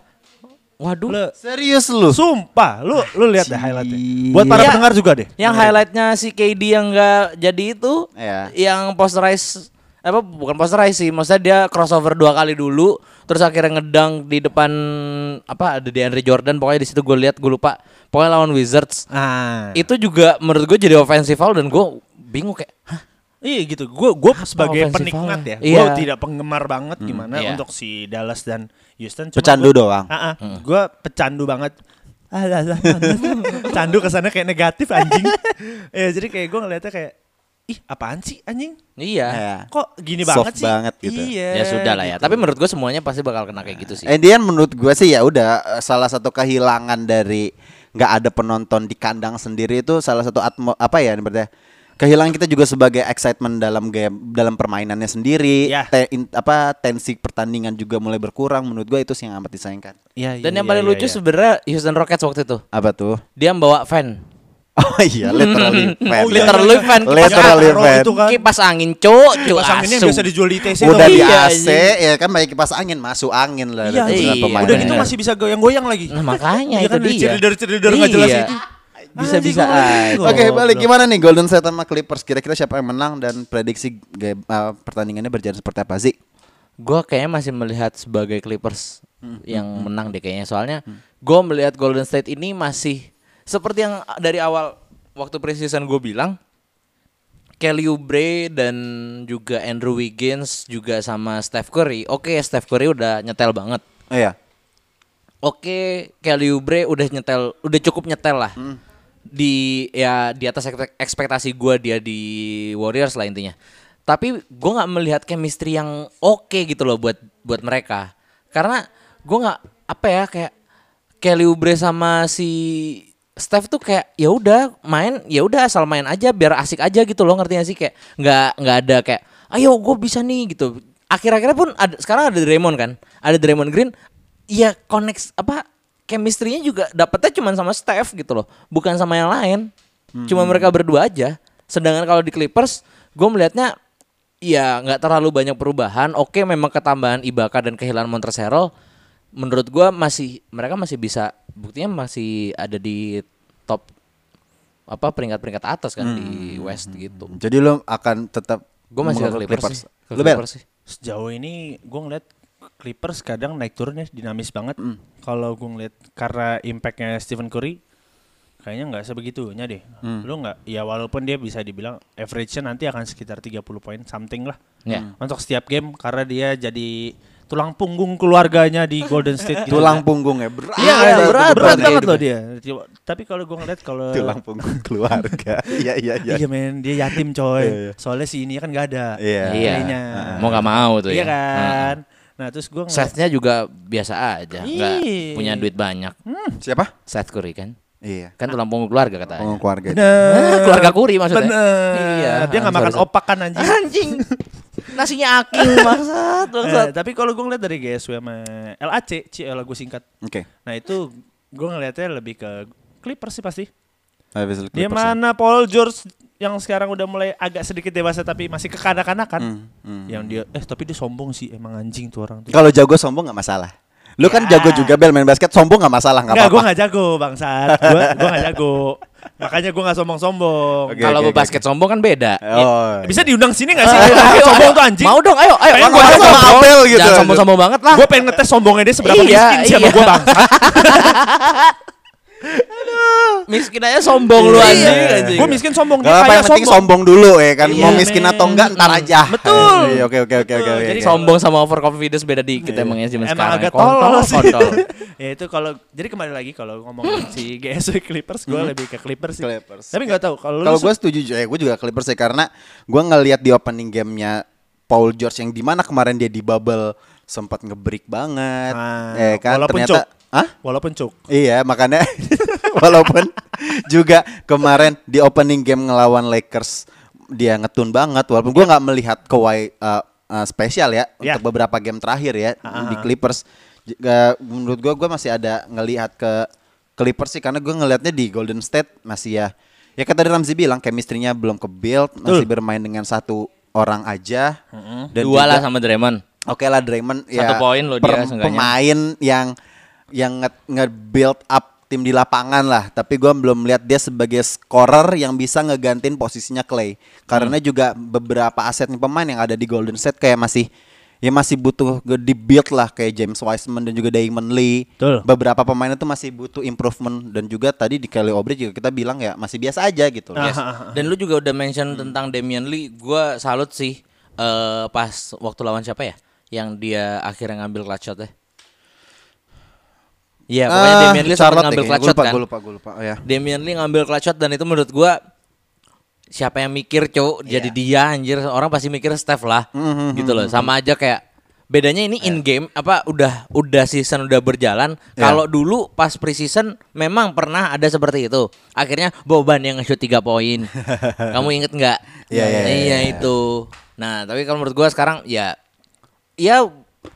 Speaker 2: Waduh.
Speaker 1: Lu,
Speaker 3: Serius lu.
Speaker 1: sumpah, lu lu lihat deh highlightnya. Buat para
Speaker 2: Iya.
Speaker 1: pendengar juga deh.
Speaker 2: Yang highlightnya si KD yang nggak jadi itu,
Speaker 3: Iya.
Speaker 2: yang posterize apa bukan posterize sih, maksudnya dia crossover dua kali dulu, terus akhirnya ngedang di depan apa ada DeAndre Jordan, pokoknya di situ gue lihat gue lupa, pokoknya lawan Wizards
Speaker 1: Ah.
Speaker 2: itu juga menurut gue jadi offensive foul dan gue bingung kayak, hah
Speaker 1: Iya gitu. Gue gue sebagai
Speaker 2: offensive
Speaker 1: penikmat
Speaker 2: foul-nya?
Speaker 1: ya. Gue
Speaker 2: Iya.
Speaker 1: tidak penggemar banget gimana
Speaker 2: iya.
Speaker 1: untuk si Dallas dan Houston. Cuma
Speaker 3: Pecandu
Speaker 1: gua-
Speaker 3: doang.
Speaker 1: Ah, ah,
Speaker 2: Hmm.
Speaker 1: Gue pecandu banget. Ah, lah, lah, manis. Candu kesana kayak negatif anjing. ya jadi kayak gue ngeliatnya kayak ih apaan sih anjing?
Speaker 2: iya.
Speaker 3: Iya.
Speaker 1: Kok gini
Speaker 3: Soft
Speaker 1: banget sih?
Speaker 3: banget gitu.
Speaker 1: Iya.
Speaker 2: Ya sudah lah ya. Tapi menurut gue semuanya pasti bakal kena kayak gitu sih.
Speaker 3: And then menurut gue sih ya udah eh, salah satu kehilangan dari nggak ada penonton di kandang sendiri itu salah satu atmo apa ya berarti kehilangan kita juga sebagai excitement dalam game dalam permainannya sendiri
Speaker 1: Ya.
Speaker 3: Te- in- apa tensi pertandingan juga mulai berkurang menurut gue itu sih yang amat disayangkan
Speaker 1: Iya, iya,
Speaker 2: Dan yang
Speaker 1: iya,
Speaker 2: paling
Speaker 1: iya,
Speaker 2: lucu
Speaker 1: iya.
Speaker 2: sebenarnya Houston Rockets waktu itu
Speaker 3: apa tuh
Speaker 2: dia membawa fan,
Speaker 3: oh iya literally fan
Speaker 1: Oh, iya,
Speaker 2: literally
Speaker 1: iya, iya.
Speaker 2: fan, kipas,
Speaker 3: Literally.
Speaker 1: Taruh
Speaker 3: fan.
Speaker 1: Itu kan.
Speaker 2: kipas angin cuk, cuk
Speaker 1: Kipas anginnya
Speaker 2: asu.
Speaker 1: bisa dijual di TC
Speaker 3: udah
Speaker 1: tuh.
Speaker 3: di
Speaker 2: Iya,
Speaker 3: AC ya kan pakai kipas angin masuk angin lah
Speaker 1: Iya,
Speaker 3: ya. ada
Speaker 2: iya.
Speaker 3: beberapa pemain.
Speaker 1: Udah gitu
Speaker 2: Iya.
Speaker 1: masih bisa goyang-goyang lagi.
Speaker 2: Nah makanya
Speaker 1: Iya
Speaker 2: itu
Speaker 1: kan, dari
Speaker 2: dia.
Speaker 1: cheerleader-cheerleader nggak jelas
Speaker 2: Iya.
Speaker 1: itu.
Speaker 2: Bisa-bisa
Speaker 1: Anjing, gua-
Speaker 2: aja.
Speaker 1: gua-
Speaker 3: Oke balik
Speaker 1: Goblok.
Speaker 3: gimana nih Golden State sama Clippers kira-kira siapa yang menang dan prediksi game, eh, pertandingannya berjalan seperti apa sih?
Speaker 2: Gue kayaknya masih melihat sebagai Clippers
Speaker 1: Hmm,
Speaker 2: yang menang deh kayaknya. Soalnya gue melihat Golden State ini masih seperti yang dari awal waktu preseason gue bilang. Kelly Oubre dan juga Andrew Wiggins juga sama Steph Curry. Oke, Steph Curry udah nyetel banget.
Speaker 3: Oh, iya.
Speaker 2: Oke, Kelly Oubre udah nyetel, udah cukup nyetel lah. Di ya di atas ekspek- ekspektasi gua dia di Warriors lah intinya. Tapi gua nggak melihat chemistry yang oke gitu loh buat buat mereka. Karena gua nggak apa ya kayak Kelly Oubre sama si Steph tuh kayak ya udah main ya udah asal main aja biar asik aja gitu loh ngerti gak sih kayak nggak nggak ada kayak ayo gue bisa nih gitu akhir-akhirnya pun ada sekarang ada Draymond kan ada Draymond Green ya connect apa chemistry-nya juga dapetnya cuma sama Steph gitu loh bukan sama yang lain cuma mereka berdua aja sedangkan kalau di Clippers gue melihatnya ya nggak terlalu banyak perubahan oke memang ketambahan Ibaka dan kehilangan Montrezl menurut gua masih mereka masih bisa buktinya masih ada di top apa peringkat-peringkat atas kan di West gitu.
Speaker 3: Jadi lo akan tetap
Speaker 2: Gue masih ke
Speaker 3: menganggap
Speaker 2: Clippers, sih. Ke
Speaker 3: Lu, Bel?
Speaker 2: Clippers sih.
Speaker 1: sejauh ini gue ngeliat Clippers kadang naik turunnya dinamis banget. Kalau gue ngeliat karena impactnya Stephen Curry, kayaknya nggak sebegitunya deh. Lu nggak? Ya walaupun dia bisa dibilang average-nya nanti akan sekitar 30 poin something lah.
Speaker 2: Ya.
Speaker 1: Untuk setiap game karena dia jadi tulang punggung keluarganya di Golden State. gitu.
Speaker 3: Tulang punggung ya berat.
Speaker 1: Iya,
Speaker 2: Iya,
Speaker 1: berat,
Speaker 2: berat
Speaker 1: berat,
Speaker 2: banget
Speaker 1: banget loh
Speaker 3: hidupnya.
Speaker 1: dia. Tapi kalau gue ngeliat kalau
Speaker 3: Tulang punggung keluarga. Iya iya iya.
Speaker 1: Iya men, dia yatim coy.
Speaker 3: Iya, iya.
Speaker 1: Soalnya si ini kan gak ada.
Speaker 3: Iya.
Speaker 2: Iya.
Speaker 1: Kayaknya.
Speaker 2: Mau nggak mau tuh
Speaker 1: Iya
Speaker 2: ya. gitu.
Speaker 1: kan. Nah terus gue
Speaker 2: Sethnya juga biasa aja, nggak
Speaker 1: Iya.
Speaker 2: punya duit banyak.
Speaker 3: Siapa?
Speaker 2: Seth Curry kan,
Speaker 3: Iya.
Speaker 2: kan tulang punggung keluarga katanya.
Speaker 3: Pengurus keluarga. itu.
Speaker 2: Ah, keluarga Curry maksudnya.
Speaker 1: Bener.
Speaker 2: Iya.
Speaker 1: Dia nggak
Speaker 2: Ah,
Speaker 1: makan
Speaker 2: sorry, sorry.
Speaker 1: opak kan anjing.
Speaker 2: Anjing, nasinya aking maksud, maksud.
Speaker 1: Eh, tapi kalau gue ngeliat dari GSW sama LAC, CL gue eh, singkat.
Speaker 3: Oke.
Speaker 1: Nah itu gue ngeliatnya lebih ke Clippers sih pasti.
Speaker 3: Habis itu
Speaker 1: Dia
Speaker 3: Clippers ya.
Speaker 1: mana Paul George yang sekarang udah mulai agak sedikit dewasa tapi masih kekanak-kanakan.
Speaker 3: Hmm, hmm.
Speaker 1: Yang dia eh tapi dia sombong sih emang anjing tuh orang tuh.
Speaker 3: Kalau jago sombong nggak masalah. Lu kan jago
Speaker 1: Ya.
Speaker 3: juga bel main basket sombong nggak masalah nggak
Speaker 1: Enggak, gue
Speaker 3: apa-apa.
Speaker 1: gak jago bangsat. Gue gua gak jago. Makanya gue gak sombong-sombong.
Speaker 3: Oke,
Speaker 2: Kalau
Speaker 3: oke, oke,
Speaker 2: basket sombong kan beda.
Speaker 3: Oh.
Speaker 1: Ya, Bisa diundang sini gak sih?
Speaker 2: Ayo, ayo,
Speaker 1: sombong
Speaker 2: "Iya, ayo.
Speaker 1: tuh anjing.
Speaker 2: Mau dong, ayo, ayo.
Speaker 1: Pengen
Speaker 2: Jangan
Speaker 3: gua sama
Speaker 2: sombong.
Speaker 3: Abel
Speaker 2: Jangan
Speaker 3: gitu, aduh.
Speaker 2: sombong-sombongnya banget lah.
Speaker 1: Gue pengen ngetes sombongnya dia seberapa
Speaker 2: Iya,
Speaker 1: miskin sih sama
Speaker 2: iya.
Speaker 1: gue bangsat.
Speaker 2: Miskin aja sombong lu anjing.
Speaker 3: Iya.
Speaker 2: anjing.
Speaker 1: Gue miskin sombong dia
Speaker 3: Gak apa
Speaker 1: kaya
Speaker 3: yang penting sombong dulu ya kan mau
Speaker 1: Iya,
Speaker 3: miskin
Speaker 1: men.
Speaker 3: atau enggak ntar aja.
Speaker 1: Betul.
Speaker 3: Iya, Oke oke oke oke.
Speaker 1: Betul,
Speaker 3: oke.
Speaker 1: jadi
Speaker 2: sombong sama overconfidence beda dikit
Speaker 3: Iya.
Speaker 2: emang ya zaman
Speaker 1: Emang
Speaker 2: sekarang.
Speaker 1: agak
Speaker 2: Kontol,
Speaker 1: tolol sih.
Speaker 2: kontol.
Speaker 1: ya itu kalau jadi kembali lagi kalau
Speaker 3: Hmm.
Speaker 1: ngomongin si GSW Clippers gue lebih ke Clippers sih.
Speaker 3: Clippers.
Speaker 1: Tapi gak tahu kalau lu
Speaker 3: Hmm. Kalau gue setuju juga, ya gue juga Clippers sih karena gue ngelihat di opening gamenya Paul George yang dimana kemarin dia di bubble sempat ngebreak banget,
Speaker 1: Ah,
Speaker 3: eh kan
Speaker 1: walaupun cuk.
Speaker 3: ternyata, ah
Speaker 1: walaupun cuk.
Speaker 3: iya makanya walaupun juga kemarin di opening game ngelawan Lakers dia ngetun banget, walaupun gue nggak melihat Kawhi eh, eh, spesial ya
Speaker 1: Iya.
Speaker 3: untuk beberapa game terakhir ya
Speaker 1: Ah,
Speaker 3: di
Speaker 1: ah.
Speaker 3: Clippers, J- eh, menurut gue gue masih ada ngelihat ke Clippers sih karena gue ngelihatnya di Golden State masih ya ya kayak tadi Ramzi bilang chemistry-nya belum ke build masih bermain dengan satu orang aja dan
Speaker 2: Dua
Speaker 3: juga-
Speaker 2: lah sama Draymond.
Speaker 3: oke lah Draymond ya
Speaker 2: Satu poin loh dia
Speaker 3: per-
Speaker 2: seenggaknya.
Speaker 3: pemain yang yang nge- nge-build up tim di lapangan lah tapi gue belum melihat dia sebagai scorer yang bisa ngegantiin posisinya Clay karena
Speaker 2: Hmm.
Speaker 3: juga beberapa asetnya pemain yang ada di Golden State kayak masih ya masih butuh ge- di-build lah kayak James Wiseman dan juga Damon Lee
Speaker 1: Betul.
Speaker 3: beberapa pemain itu masih butuh improvement dan juga tadi di Kelly Oubre juga kita bilang ya masih biasa aja gitu loh.
Speaker 2: Yes. Dan lu juga udah mention tentang Damian Lee. Gue salut sih eh, pas waktu lawan siapa ya? Yang dia akhirnya ngambil clutch shot ya. Iya, pokoknya
Speaker 3: Ah,
Speaker 2: Damian Lee sempat
Speaker 3: Charlotte
Speaker 2: ngambil
Speaker 3: deh
Speaker 2: clutch shot
Speaker 3: kayaknya. Gua lupa,
Speaker 2: kan.
Speaker 3: gua lupa, gua lupa. Oh, ya.
Speaker 2: Damian Lee ngambil clutch shot dan itu menurut gua siapa yang mikir cowok jadi
Speaker 3: Iya.
Speaker 2: dia anjir orang pasti mikir Steph lah
Speaker 3: Hmm,
Speaker 2: gitu loh sama aja kayak bedanya
Speaker 3: Iya.
Speaker 2: ini in game apa udah udah season udah berjalan kalau dulu pas preseason memang pernah ada seperti itu akhirnya Boban yang nge-shoot 3 poin kamu inget nggak
Speaker 3: Iya, iya, iya,
Speaker 2: iya
Speaker 3: iya.
Speaker 2: itu nah tapi kalau menurut gua sekarang ya ya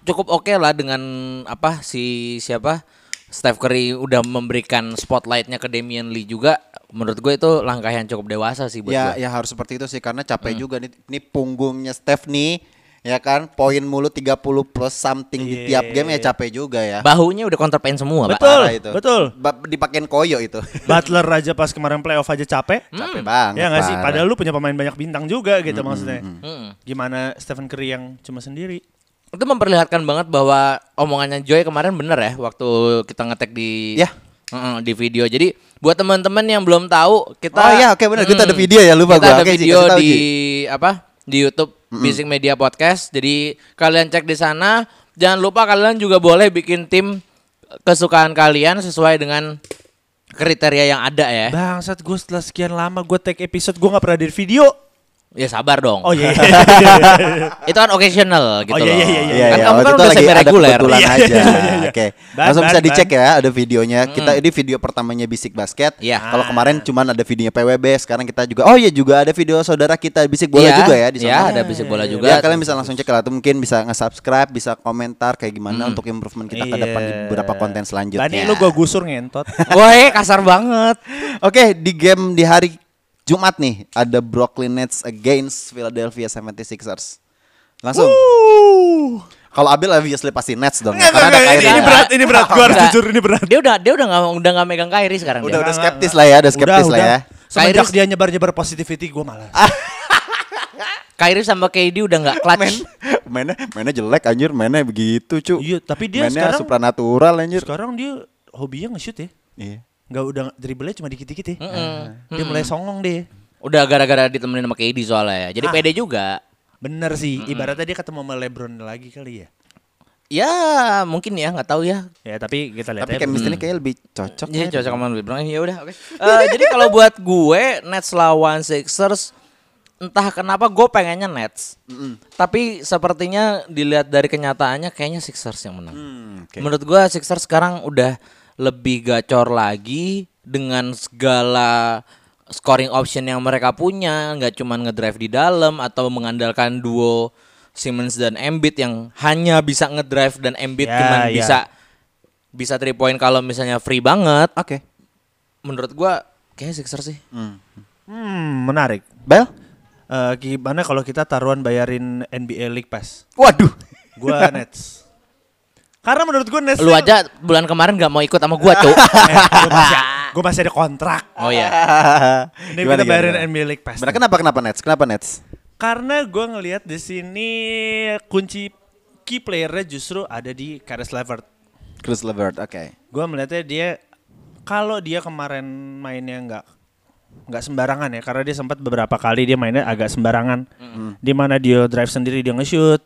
Speaker 2: cukup oke lah dengan apa si siapa Steph Curry udah memberikan spotlightnya ke Damian Lee juga menurut gue itu langkah yang cukup dewasa sih buat
Speaker 3: ya
Speaker 2: gue.
Speaker 3: ya harus seperti itu sih karena capek
Speaker 1: Hmm.
Speaker 3: juga nih ini punggungnya Steph nih ya kan poin mulu 30 plus something di tiap game ya capek juga ya
Speaker 2: Bahunya udah counterpain semua,
Speaker 1: Iya.
Speaker 2: Pak.
Speaker 1: Betul,
Speaker 3: Parah itu.
Speaker 1: betul. Hmm.
Speaker 3: Ba- dipakein koyo itu
Speaker 1: Butler aja pas kemarin playoff aja capek.
Speaker 3: capek banget
Speaker 1: Ya nggak sih?
Speaker 3: Hmm, parah. Hmm,
Speaker 1: Padahal lu punya pemain banyak bintang juga gitu maksudnya.
Speaker 2: Mm-mm.
Speaker 1: Gimana Stephen Curry yang cuma sendiri?
Speaker 2: Hmm. Itu memperlihatkan banget bahwa omongannya Joy kemarin bener ya waktu kita ngetek di
Speaker 3: Iya.
Speaker 2: Heeh, di video. Jadi buat teman-teman yang belum tahu, kita Hmm.
Speaker 3: Oh, iya, oke, bener. Kita ada video ya, lupa
Speaker 2: Kita
Speaker 3: gua.
Speaker 2: ada
Speaker 3: Oke, Ji,
Speaker 2: video
Speaker 3: kasih tahu,
Speaker 2: di apa? Di YouTube Bising Media Podcast. Jadi kalian cek di sana. Jangan lupa kalian juga boleh bikin tim kesukaan kalian sesuai dengan kriteria yang ada ya.
Speaker 3: Eh.
Speaker 1: Bangsat gue setelah sekian lama gue take episode gue nggak pernah di video.
Speaker 2: Ya sabar dong.
Speaker 1: Oh iya.
Speaker 2: Itu kan occasional
Speaker 1: Oh,
Speaker 2: gitu
Speaker 1: iya, iya,
Speaker 2: loh.
Speaker 1: iya,
Speaker 3: Iya,
Speaker 2: Kan
Speaker 3: iya,
Speaker 2: kamu kan
Speaker 3: waktu itu
Speaker 2: udah
Speaker 3: lagi
Speaker 2: semi
Speaker 3: ada
Speaker 2: reguler.
Speaker 3: kebetulan
Speaker 1: Iya,
Speaker 3: aja.
Speaker 1: iya, iya, iya.
Speaker 3: Oke.
Speaker 1: Ban,
Speaker 3: Langsung
Speaker 1: ban,
Speaker 3: bisa
Speaker 1: ban.
Speaker 3: dicek ya, ada videonya. Kita ini video pertamanya Bisik Basket.
Speaker 2: Iya.
Speaker 3: Kalau kemarin cuman ada videonya PWB, sekarang kita juga Oh iya juga ada video saudara kita Bisik Bola
Speaker 2: Iya,
Speaker 3: juga ya di sana.
Speaker 2: iya, ada Bisik Bola juga.
Speaker 3: Ya, kalian bisa langsung cek lah tuh mungkin bisa nge-subscribe, bisa komentar kayak gimana untuk improvement kita ke depan
Speaker 2: Iya.
Speaker 3: di beberapa konten selanjutnya.
Speaker 1: Tadi Iya. lu gue gusur ngentot.
Speaker 2: Woi, kasar banget.
Speaker 3: Oke, di game di hari Jumat nih ada Brooklyn Nets against Philadelphia 76ers. Langsung. Uh, Kalau Abel obviously pasti Nets dong.
Speaker 1: Enggak,
Speaker 3: ya,
Speaker 1: enggak, enggak,
Speaker 3: ada
Speaker 1: ini,
Speaker 3: Kyrie.
Speaker 1: ini berat, ini berat. Gue harus
Speaker 2: Enggak.
Speaker 1: jujur, ini berat.
Speaker 2: Dia udah dia udah nggak udah nggak megang Kyrie sekarang dia.
Speaker 3: Udah udah skeptis lah ya, udah skeptis lah ya. Ah.
Speaker 1: Semenjak
Speaker 2: Kairis-
Speaker 1: dia nyebar-nyebar positivity gue malas.
Speaker 2: Kyrie sama KD udah nggak
Speaker 3: Men,
Speaker 2: clutch.
Speaker 3: mainnya mainnya jelek anjir, mainnya begitu, cu.
Speaker 1: Iya, tapi dia
Speaker 3: mainnya
Speaker 1: sekarang-
Speaker 3: supranatural anjir.
Speaker 1: Sekarang dia hobinya nge-shoot ya.
Speaker 3: Iya.
Speaker 1: Nggak udah dribblenya cuma dikit-dikit ya.
Speaker 3: Ah.
Speaker 1: Dia mulai songong deh.
Speaker 2: Udah gara-gara ditemenin sama KD soalnya ya. Jadi
Speaker 1: Ah.
Speaker 2: pede juga.
Speaker 1: Bener sih, ibaratnya dia ketemu sama LeBron lagi kali ya.
Speaker 2: Ya, mungkin ya, nggak tahu ya.
Speaker 1: Ya, tapi kita lihat
Speaker 3: Tapi
Speaker 1: aja.
Speaker 3: chemistry-nya kayaknya lebih cocok. ya.
Speaker 2: Iya, Eh, cocok sama LeBron. Ya udah, oke. Eh, jadi kalau buat gue Nets lawan Sixers entah kenapa gue pengennya Nets. Tapi sepertinya dilihat dari kenyataannya kayaknya Sixers yang menang.
Speaker 1: Hmm.
Speaker 3: Hmm, oke.
Speaker 2: Menurut gue Sixers sekarang udah lebih gacor lagi dengan segala scoring option yang mereka punya, nggak cuman ngedrive di dalam atau mengandalkan duo Simmons dan Embiid yang hanya bisa ngedrive dan Embiid
Speaker 1: Ya,
Speaker 2: cuman
Speaker 1: ya.
Speaker 2: bisa bisa three point kalau misalnya free banget.
Speaker 3: Oke.
Speaker 2: Menurut gue kayaknya Sixers sih.
Speaker 1: Hmm, menarik.
Speaker 3: Bel?
Speaker 1: Eh, gimana kalau kita taruhan bayarin NBA League Pass?
Speaker 3: Waduh.
Speaker 1: Gua Nets. Karena menurut gua Nets
Speaker 2: Lu
Speaker 1: tuh-
Speaker 2: aja bulan kemarin gak mau ikut sama gua, Cuk.
Speaker 1: Eh, gua masih, gua masih ada kontrak.
Speaker 2: Oh iya.
Speaker 1: Ini kita bayarin NBA League Pass.
Speaker 3: Benar, kenapa kenapa Nets? Kenapa Nets?
Speaker 1: Karena gue ngelihat di sini kunci key playernya justru ada di Karis Levert.
Speaker 3: Chris Levert, oke.
Speaker 1: Gue melihatnya dia kalau dia kemarin mainnya nggak nggak sembarangan ya karena dia sempat beberapa kali dia mainnya agak sembarangan di mana dia drive sendiri dia nge-shoot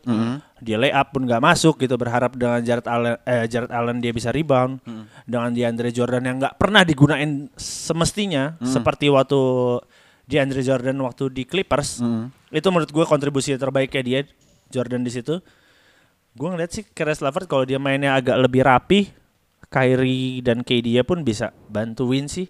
Speaker 1: dia lay up pun nggak masuk gitu berharap dengan Jared Allen eh, Jared Allen dia bisa rebound dengan DeAndre Jordan yang nggak pernah digunain semestinya seperti waktu DeAndre Jordan waktu di Clippers itu menurut gue kontribusi terbaiknya dia Jordan di situ gue ngeliat sih Karis Levert kalau dia mainnya agak lebih rapi Kyrie dan KD nya pun bisa bantuin sih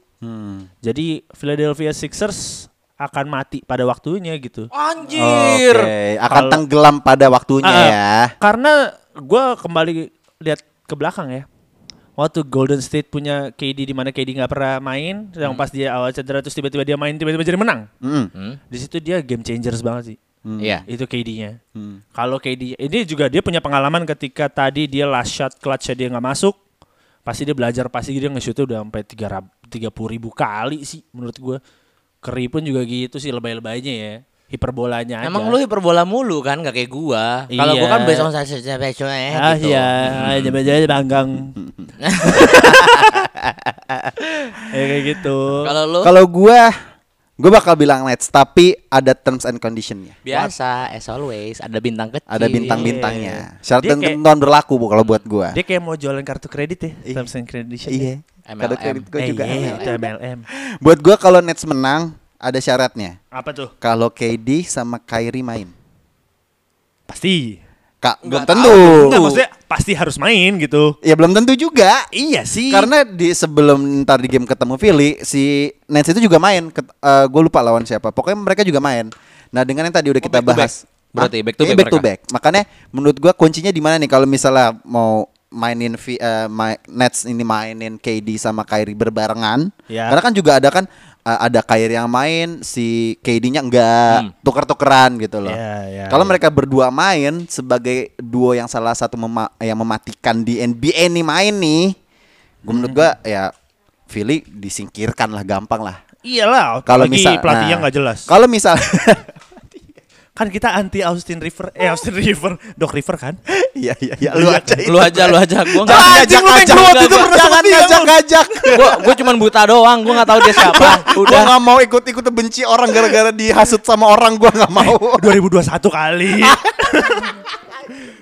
Speaker 1: jadi Philadelphia Sixers akan mati pada waktunya gitu.
Speaker 2: Anjir.
Speaker 3: Oke, akan
Speaker 1: Kalau-
Speaker 3: tenggelam pada waktunya
Speaker 1: Ah,
Speaker 3: ya.
Speaker 1: Karena gue kembali lihat ke belakang ya. Waktu Golden State punya KD di mana KD nggak pernah main, yang pas dia awal cedera terus tiba-tiba dia main tiba-tiba jadi menang.
Speaker 3: Mm.
Speaker 2: Hmm.
Speaker 1: Di situ dia game changers banget sih.
Speaker 2: Iya.
Speaker 1: Itu KD-nya.
Speaker 3: Hmm.
Speaker 1: Kalau KD ini juga dia punya pengalaman ketika tadi dia last shot clutch dia nggak masuk, pasti dia belajar pasti dia nge-shoot udah sampai tiga puluh ribu kali sih menurut gue. Curry pun juga gitu sih lebay-lebaynya ya, hiperbolanya.
Speaker 2: Emang
Speaker 1: aja.
Speaker 2: lu hiperbola mulu kan gak kayak gua. Kalau gua
Speaker 1: Iya.
Speaker 2: kan based on success and passion
Speaker 1: Ah
Speaker 2: gitu.
Speaker 1: iya, jadi banggang. ya kayak gitu.
Speaker 2: Kalau lu
Speaker 3: Kalau gua gua bakal bilang Nets, tapi ada terms and conditionnya.
Speaker 2: biasa as always ada bintang kecil.
Speaker 3: Ada bintang-bintangnya.
Speaker 1: Iya,
Speaker 3: Syarat
Speaker 1: Dia
Speaker 3: dan
Speaker 1: kayak-
Speaker 3: ketentuan berlaku Bu, kalau buat gua.
Speaker 1: Dia kayak mau jualan kartu kredit ya, terms and condition.
Speaker 3: Iya.
Speaker 2: MLM.
Speaker 3: Kartu kredit gua
Speaker 1: ya. Eh,
Speaker 3: juga.
Speaker 1: iya,
Speaker 3: MLM.
Speaker 1: itu MLM.
Speaker 3: Buat gua kalau Nets menang ada syaratnya.
Speaker 1: Apa tuh?
Speaker 3: Kalau KD sama Kyrie main.
Speaker 1: Pasti.
Speaker 3: Kak, belum
Speaker 2: Nggak
Speaker 3: tentu.
Speaker 1: Enggak maksudnya pasti harus main gitu.
Speaker 3: Ya belum tentu juga.
Speaker 1: Iya sih.
Speaker 3: Karena di sebelum ntar di game ketemu Philly, si Nets itu juga main. gue lupa lawan siapa. Pokoknya mereka juga main. Nah dengan yang tadi udah kita
Speaker 2: Oh, back to back.
Speaker 3: bahas,
Speaker 2: Berarti
Speaker 3: Ah,
Speaker 2: back to
Speaker 3: ini
Speaker 2: back
Speaker 3: back, to
Speaker 2: mereka.
Speaker 3: back. Makanya menurut gue kuncinya di mana nih kalau misalnya mau mainin Vi- eh, ma- Nets ini mainin KD sama Kyrie berbarengan.
Speaker 1: Ya.
Speaker 3: Karena kan juga ada kan eh, ada Kyrie yang main, si KD-nya
Speaker 2: Hmm.
Speaker 3: enggak tuker-tukeran gitu loh.
Speaker 1: Ya, ya,
Speaker 3: kalau
Speaker 1: ya.
Speaker 3: mereka berdua main sebagai duo yang salah satu mema- yang mematikan di NBA nih main nih. Gue menurut gua ya Philly disingkirkan lah gampang lah.
Speaker 1: iyalah.
Speaker 3: Kalau
Speaker 1: apalagi
Speaker 3: misal
Speaker 1: pelatihnya
Speaker 3: nah,
Speaker 1: nggak jelas.
Speaker 3: Kalau misal
Speaker 1: Kan kita anti Austin River, eh
Speaker 3: Oh.
Speaker 1: Austin River, Doc River kan?
Speaker 3: Iya iya iya lu aja itu.
Speaker 2: Lu aja lu aja gua
Speaker 3: Jangan
Speaker 2: enggak
Speaker 3: ngajak
Speaker 2: Enggak,
Speaker 3: ngajak
Speaker 2: gua-
Speaker 3: jangan ngajak ngajak.
Speaker 2: Gua gua cuman buta doang, gua enggak tahu dia siapa.
Speaker 3: Udah
Speaker 2: Udah.
Speaker 3: nggak mau ikut-ikut benci orang gara-gara dihasut sama orang gua nggak mau.
Speaker 1: 2021 kali.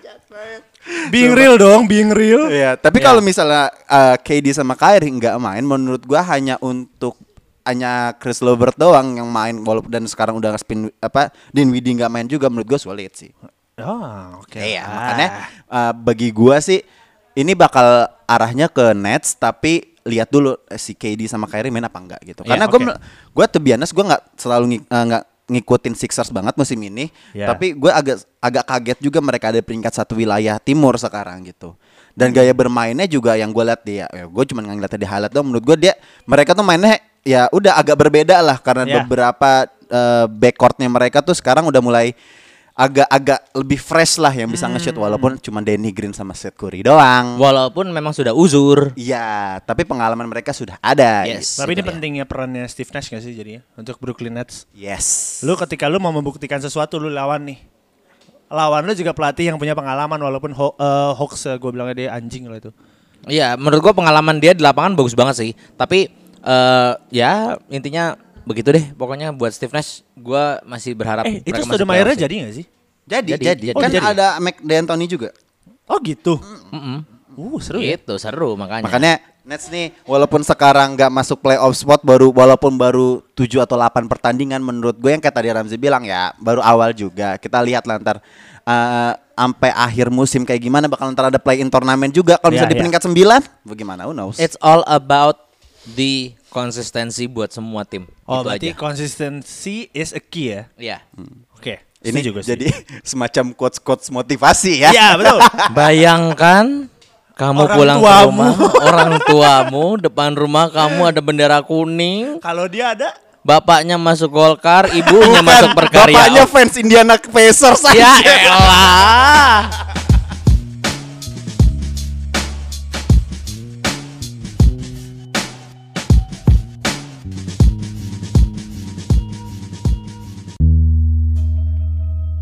Speaker 1: being real dong, being real.
Speaker 3: Iya, tapi kalau misalnya uh, KD sama Kyrie nggak main, menurut gua hanya untuk hanya Chris Lobert doang yang main walaupun dan sekarang udah spin apa Dinwiddie nggak main juga menurut gua sulit sih.
Speaker 1: Oh, oke.
Speaker 3: Iya, makanya uh, bagi gua sih ini bakal arahnya ke Nets tapi lihat dulu eh, si KD sama Kyrie main apa enggak gitu.
Speaker 1: Iya,
Speaker 3: Karena gua
Speaker 1: oke.
Speaker 3: mel- gua tuh biasanya gua nggak selalu ngik- eh, nggak ngikutin Sixers banget musim ini,
Speaker 1: Iya.
Speaker 3: tapi gua agak agak kaget juga mereka ada peringkat satu wilayah timur sekarang gitu. Dan gaya bermainnya juga yang gua lihat dia, ya gua cuma ngeliatnya di highlight doang menurut gua dia mereka tuh mainnya ya udah agak berbeda lah karena
Speaker 1: Iya.
Speaker 3: beberapa eh, backcourtnya mereka tuh sekarang udah mulai agak-agag lebih fresh lah yang
Speaker 2: Hmm.
Speaker 3: bisa nge-shoot walaupun cuma Danny Green sama Seth Curry doang.
Speaker 2: Walaupun memang sudah uzur.
Speaker 3: Iya, tapi pengalaman mereka sudah ada.
Speaker 2: Yes.
Speaker 1: Tapi ini
Speaker 3: Gitu ya.
Speaker 1: pentingnya perannya Steve Nash gak sih jadinya untuk Brooklyn Nets?
Speaker 3: Yes.
Speaker 1: Lu ketika lu mau membuktikan sesuatu lu lawan nih. Lawan lu juga pelatih yang punya pengalaman walaupun ho eh, hoax gue bilangnya dia anjing lah itu.
Speaker 2: Iya, menurut gua pengalaman dia di lapangan bagus banget sih. Tapi eh ya intinya begitu deh. Pokoknya buat Steve Nash gua masih berharap
Speaker 1: Eh, itu
Speaker 2: mereka masuk
Speaker 1: Stoudemire
Speaker 2: playoff sih.
Speaker 1: jadi gak sih?
Speaker 3: jadi,
Speaker 2: Jadi,
Speaker 3: jadi,
Speaker 2: jadi.
Speaker 3: kan
Speaker 2: Oh, jadi.
Speaker 3: ada Mac D'Antoni juga.
Speaker 1: Oh, gitu.
Speaker 3: Hmm.
Speaker 2: Mm-mm.
Speaker 1: Uh, seru ya.
Speaker 3: Iya,
Speaker 2: Gitu, seru makanya.
Speaker 3: Makanya Nets nih walaupun sekarang nggak masuk playoff spot baru walaupun baru 7 atau 8 pertandingan menurut gue yang kayak tadi Ramzi bilang ya baru awal juga kita lihat lah ntar eh, sampai akhir musim kayak gimana bakal ntar ada play in turnamen juga kalau
Speaker 1: Ya,
Speaker 3: misalnya di
Speaker 1: ya.
Speaker 3: peringkat 9 bagaimana who knows
Speaker 2: It's all about the konsistensi buat semua tim.
Speaker 1: Oh,
Speaker 2: Itu
Speaker 3: Gitu
Speaker 1: berarti
Speaker 2: aja.
Speaker 1: konsistensi is a key ya.
Speaker 2: Iya.
Speaker 1: Oke.
Speaker 3: ini
Speaker 1: setuju gue,
Speaker 3: jadi
Speaker 1: setuju.
Speaker 3: semacam quotes quotes motivasi ya
Speaker 1: Iya, betul.
Speaker 2: Bayangkan kamu
Speaker 1: Orang
Speaker 2: pulang ke
Speaker 1: tuamu.
Speaker 2: rumah, orang tuamu depan rumah kamu ada bendera kuning,
Speaker 1: Kalau dia ada
Speaker 2: bapaknya masuk Golkar, ibunya masuk Iya,
Speaker 3: Bapaknya
Speaker 2: Perkarya.
Speaker 3: fans Indiana Pacers
Speaker 2: Ya
Speaker 3: aja.
Speaker 2: elah.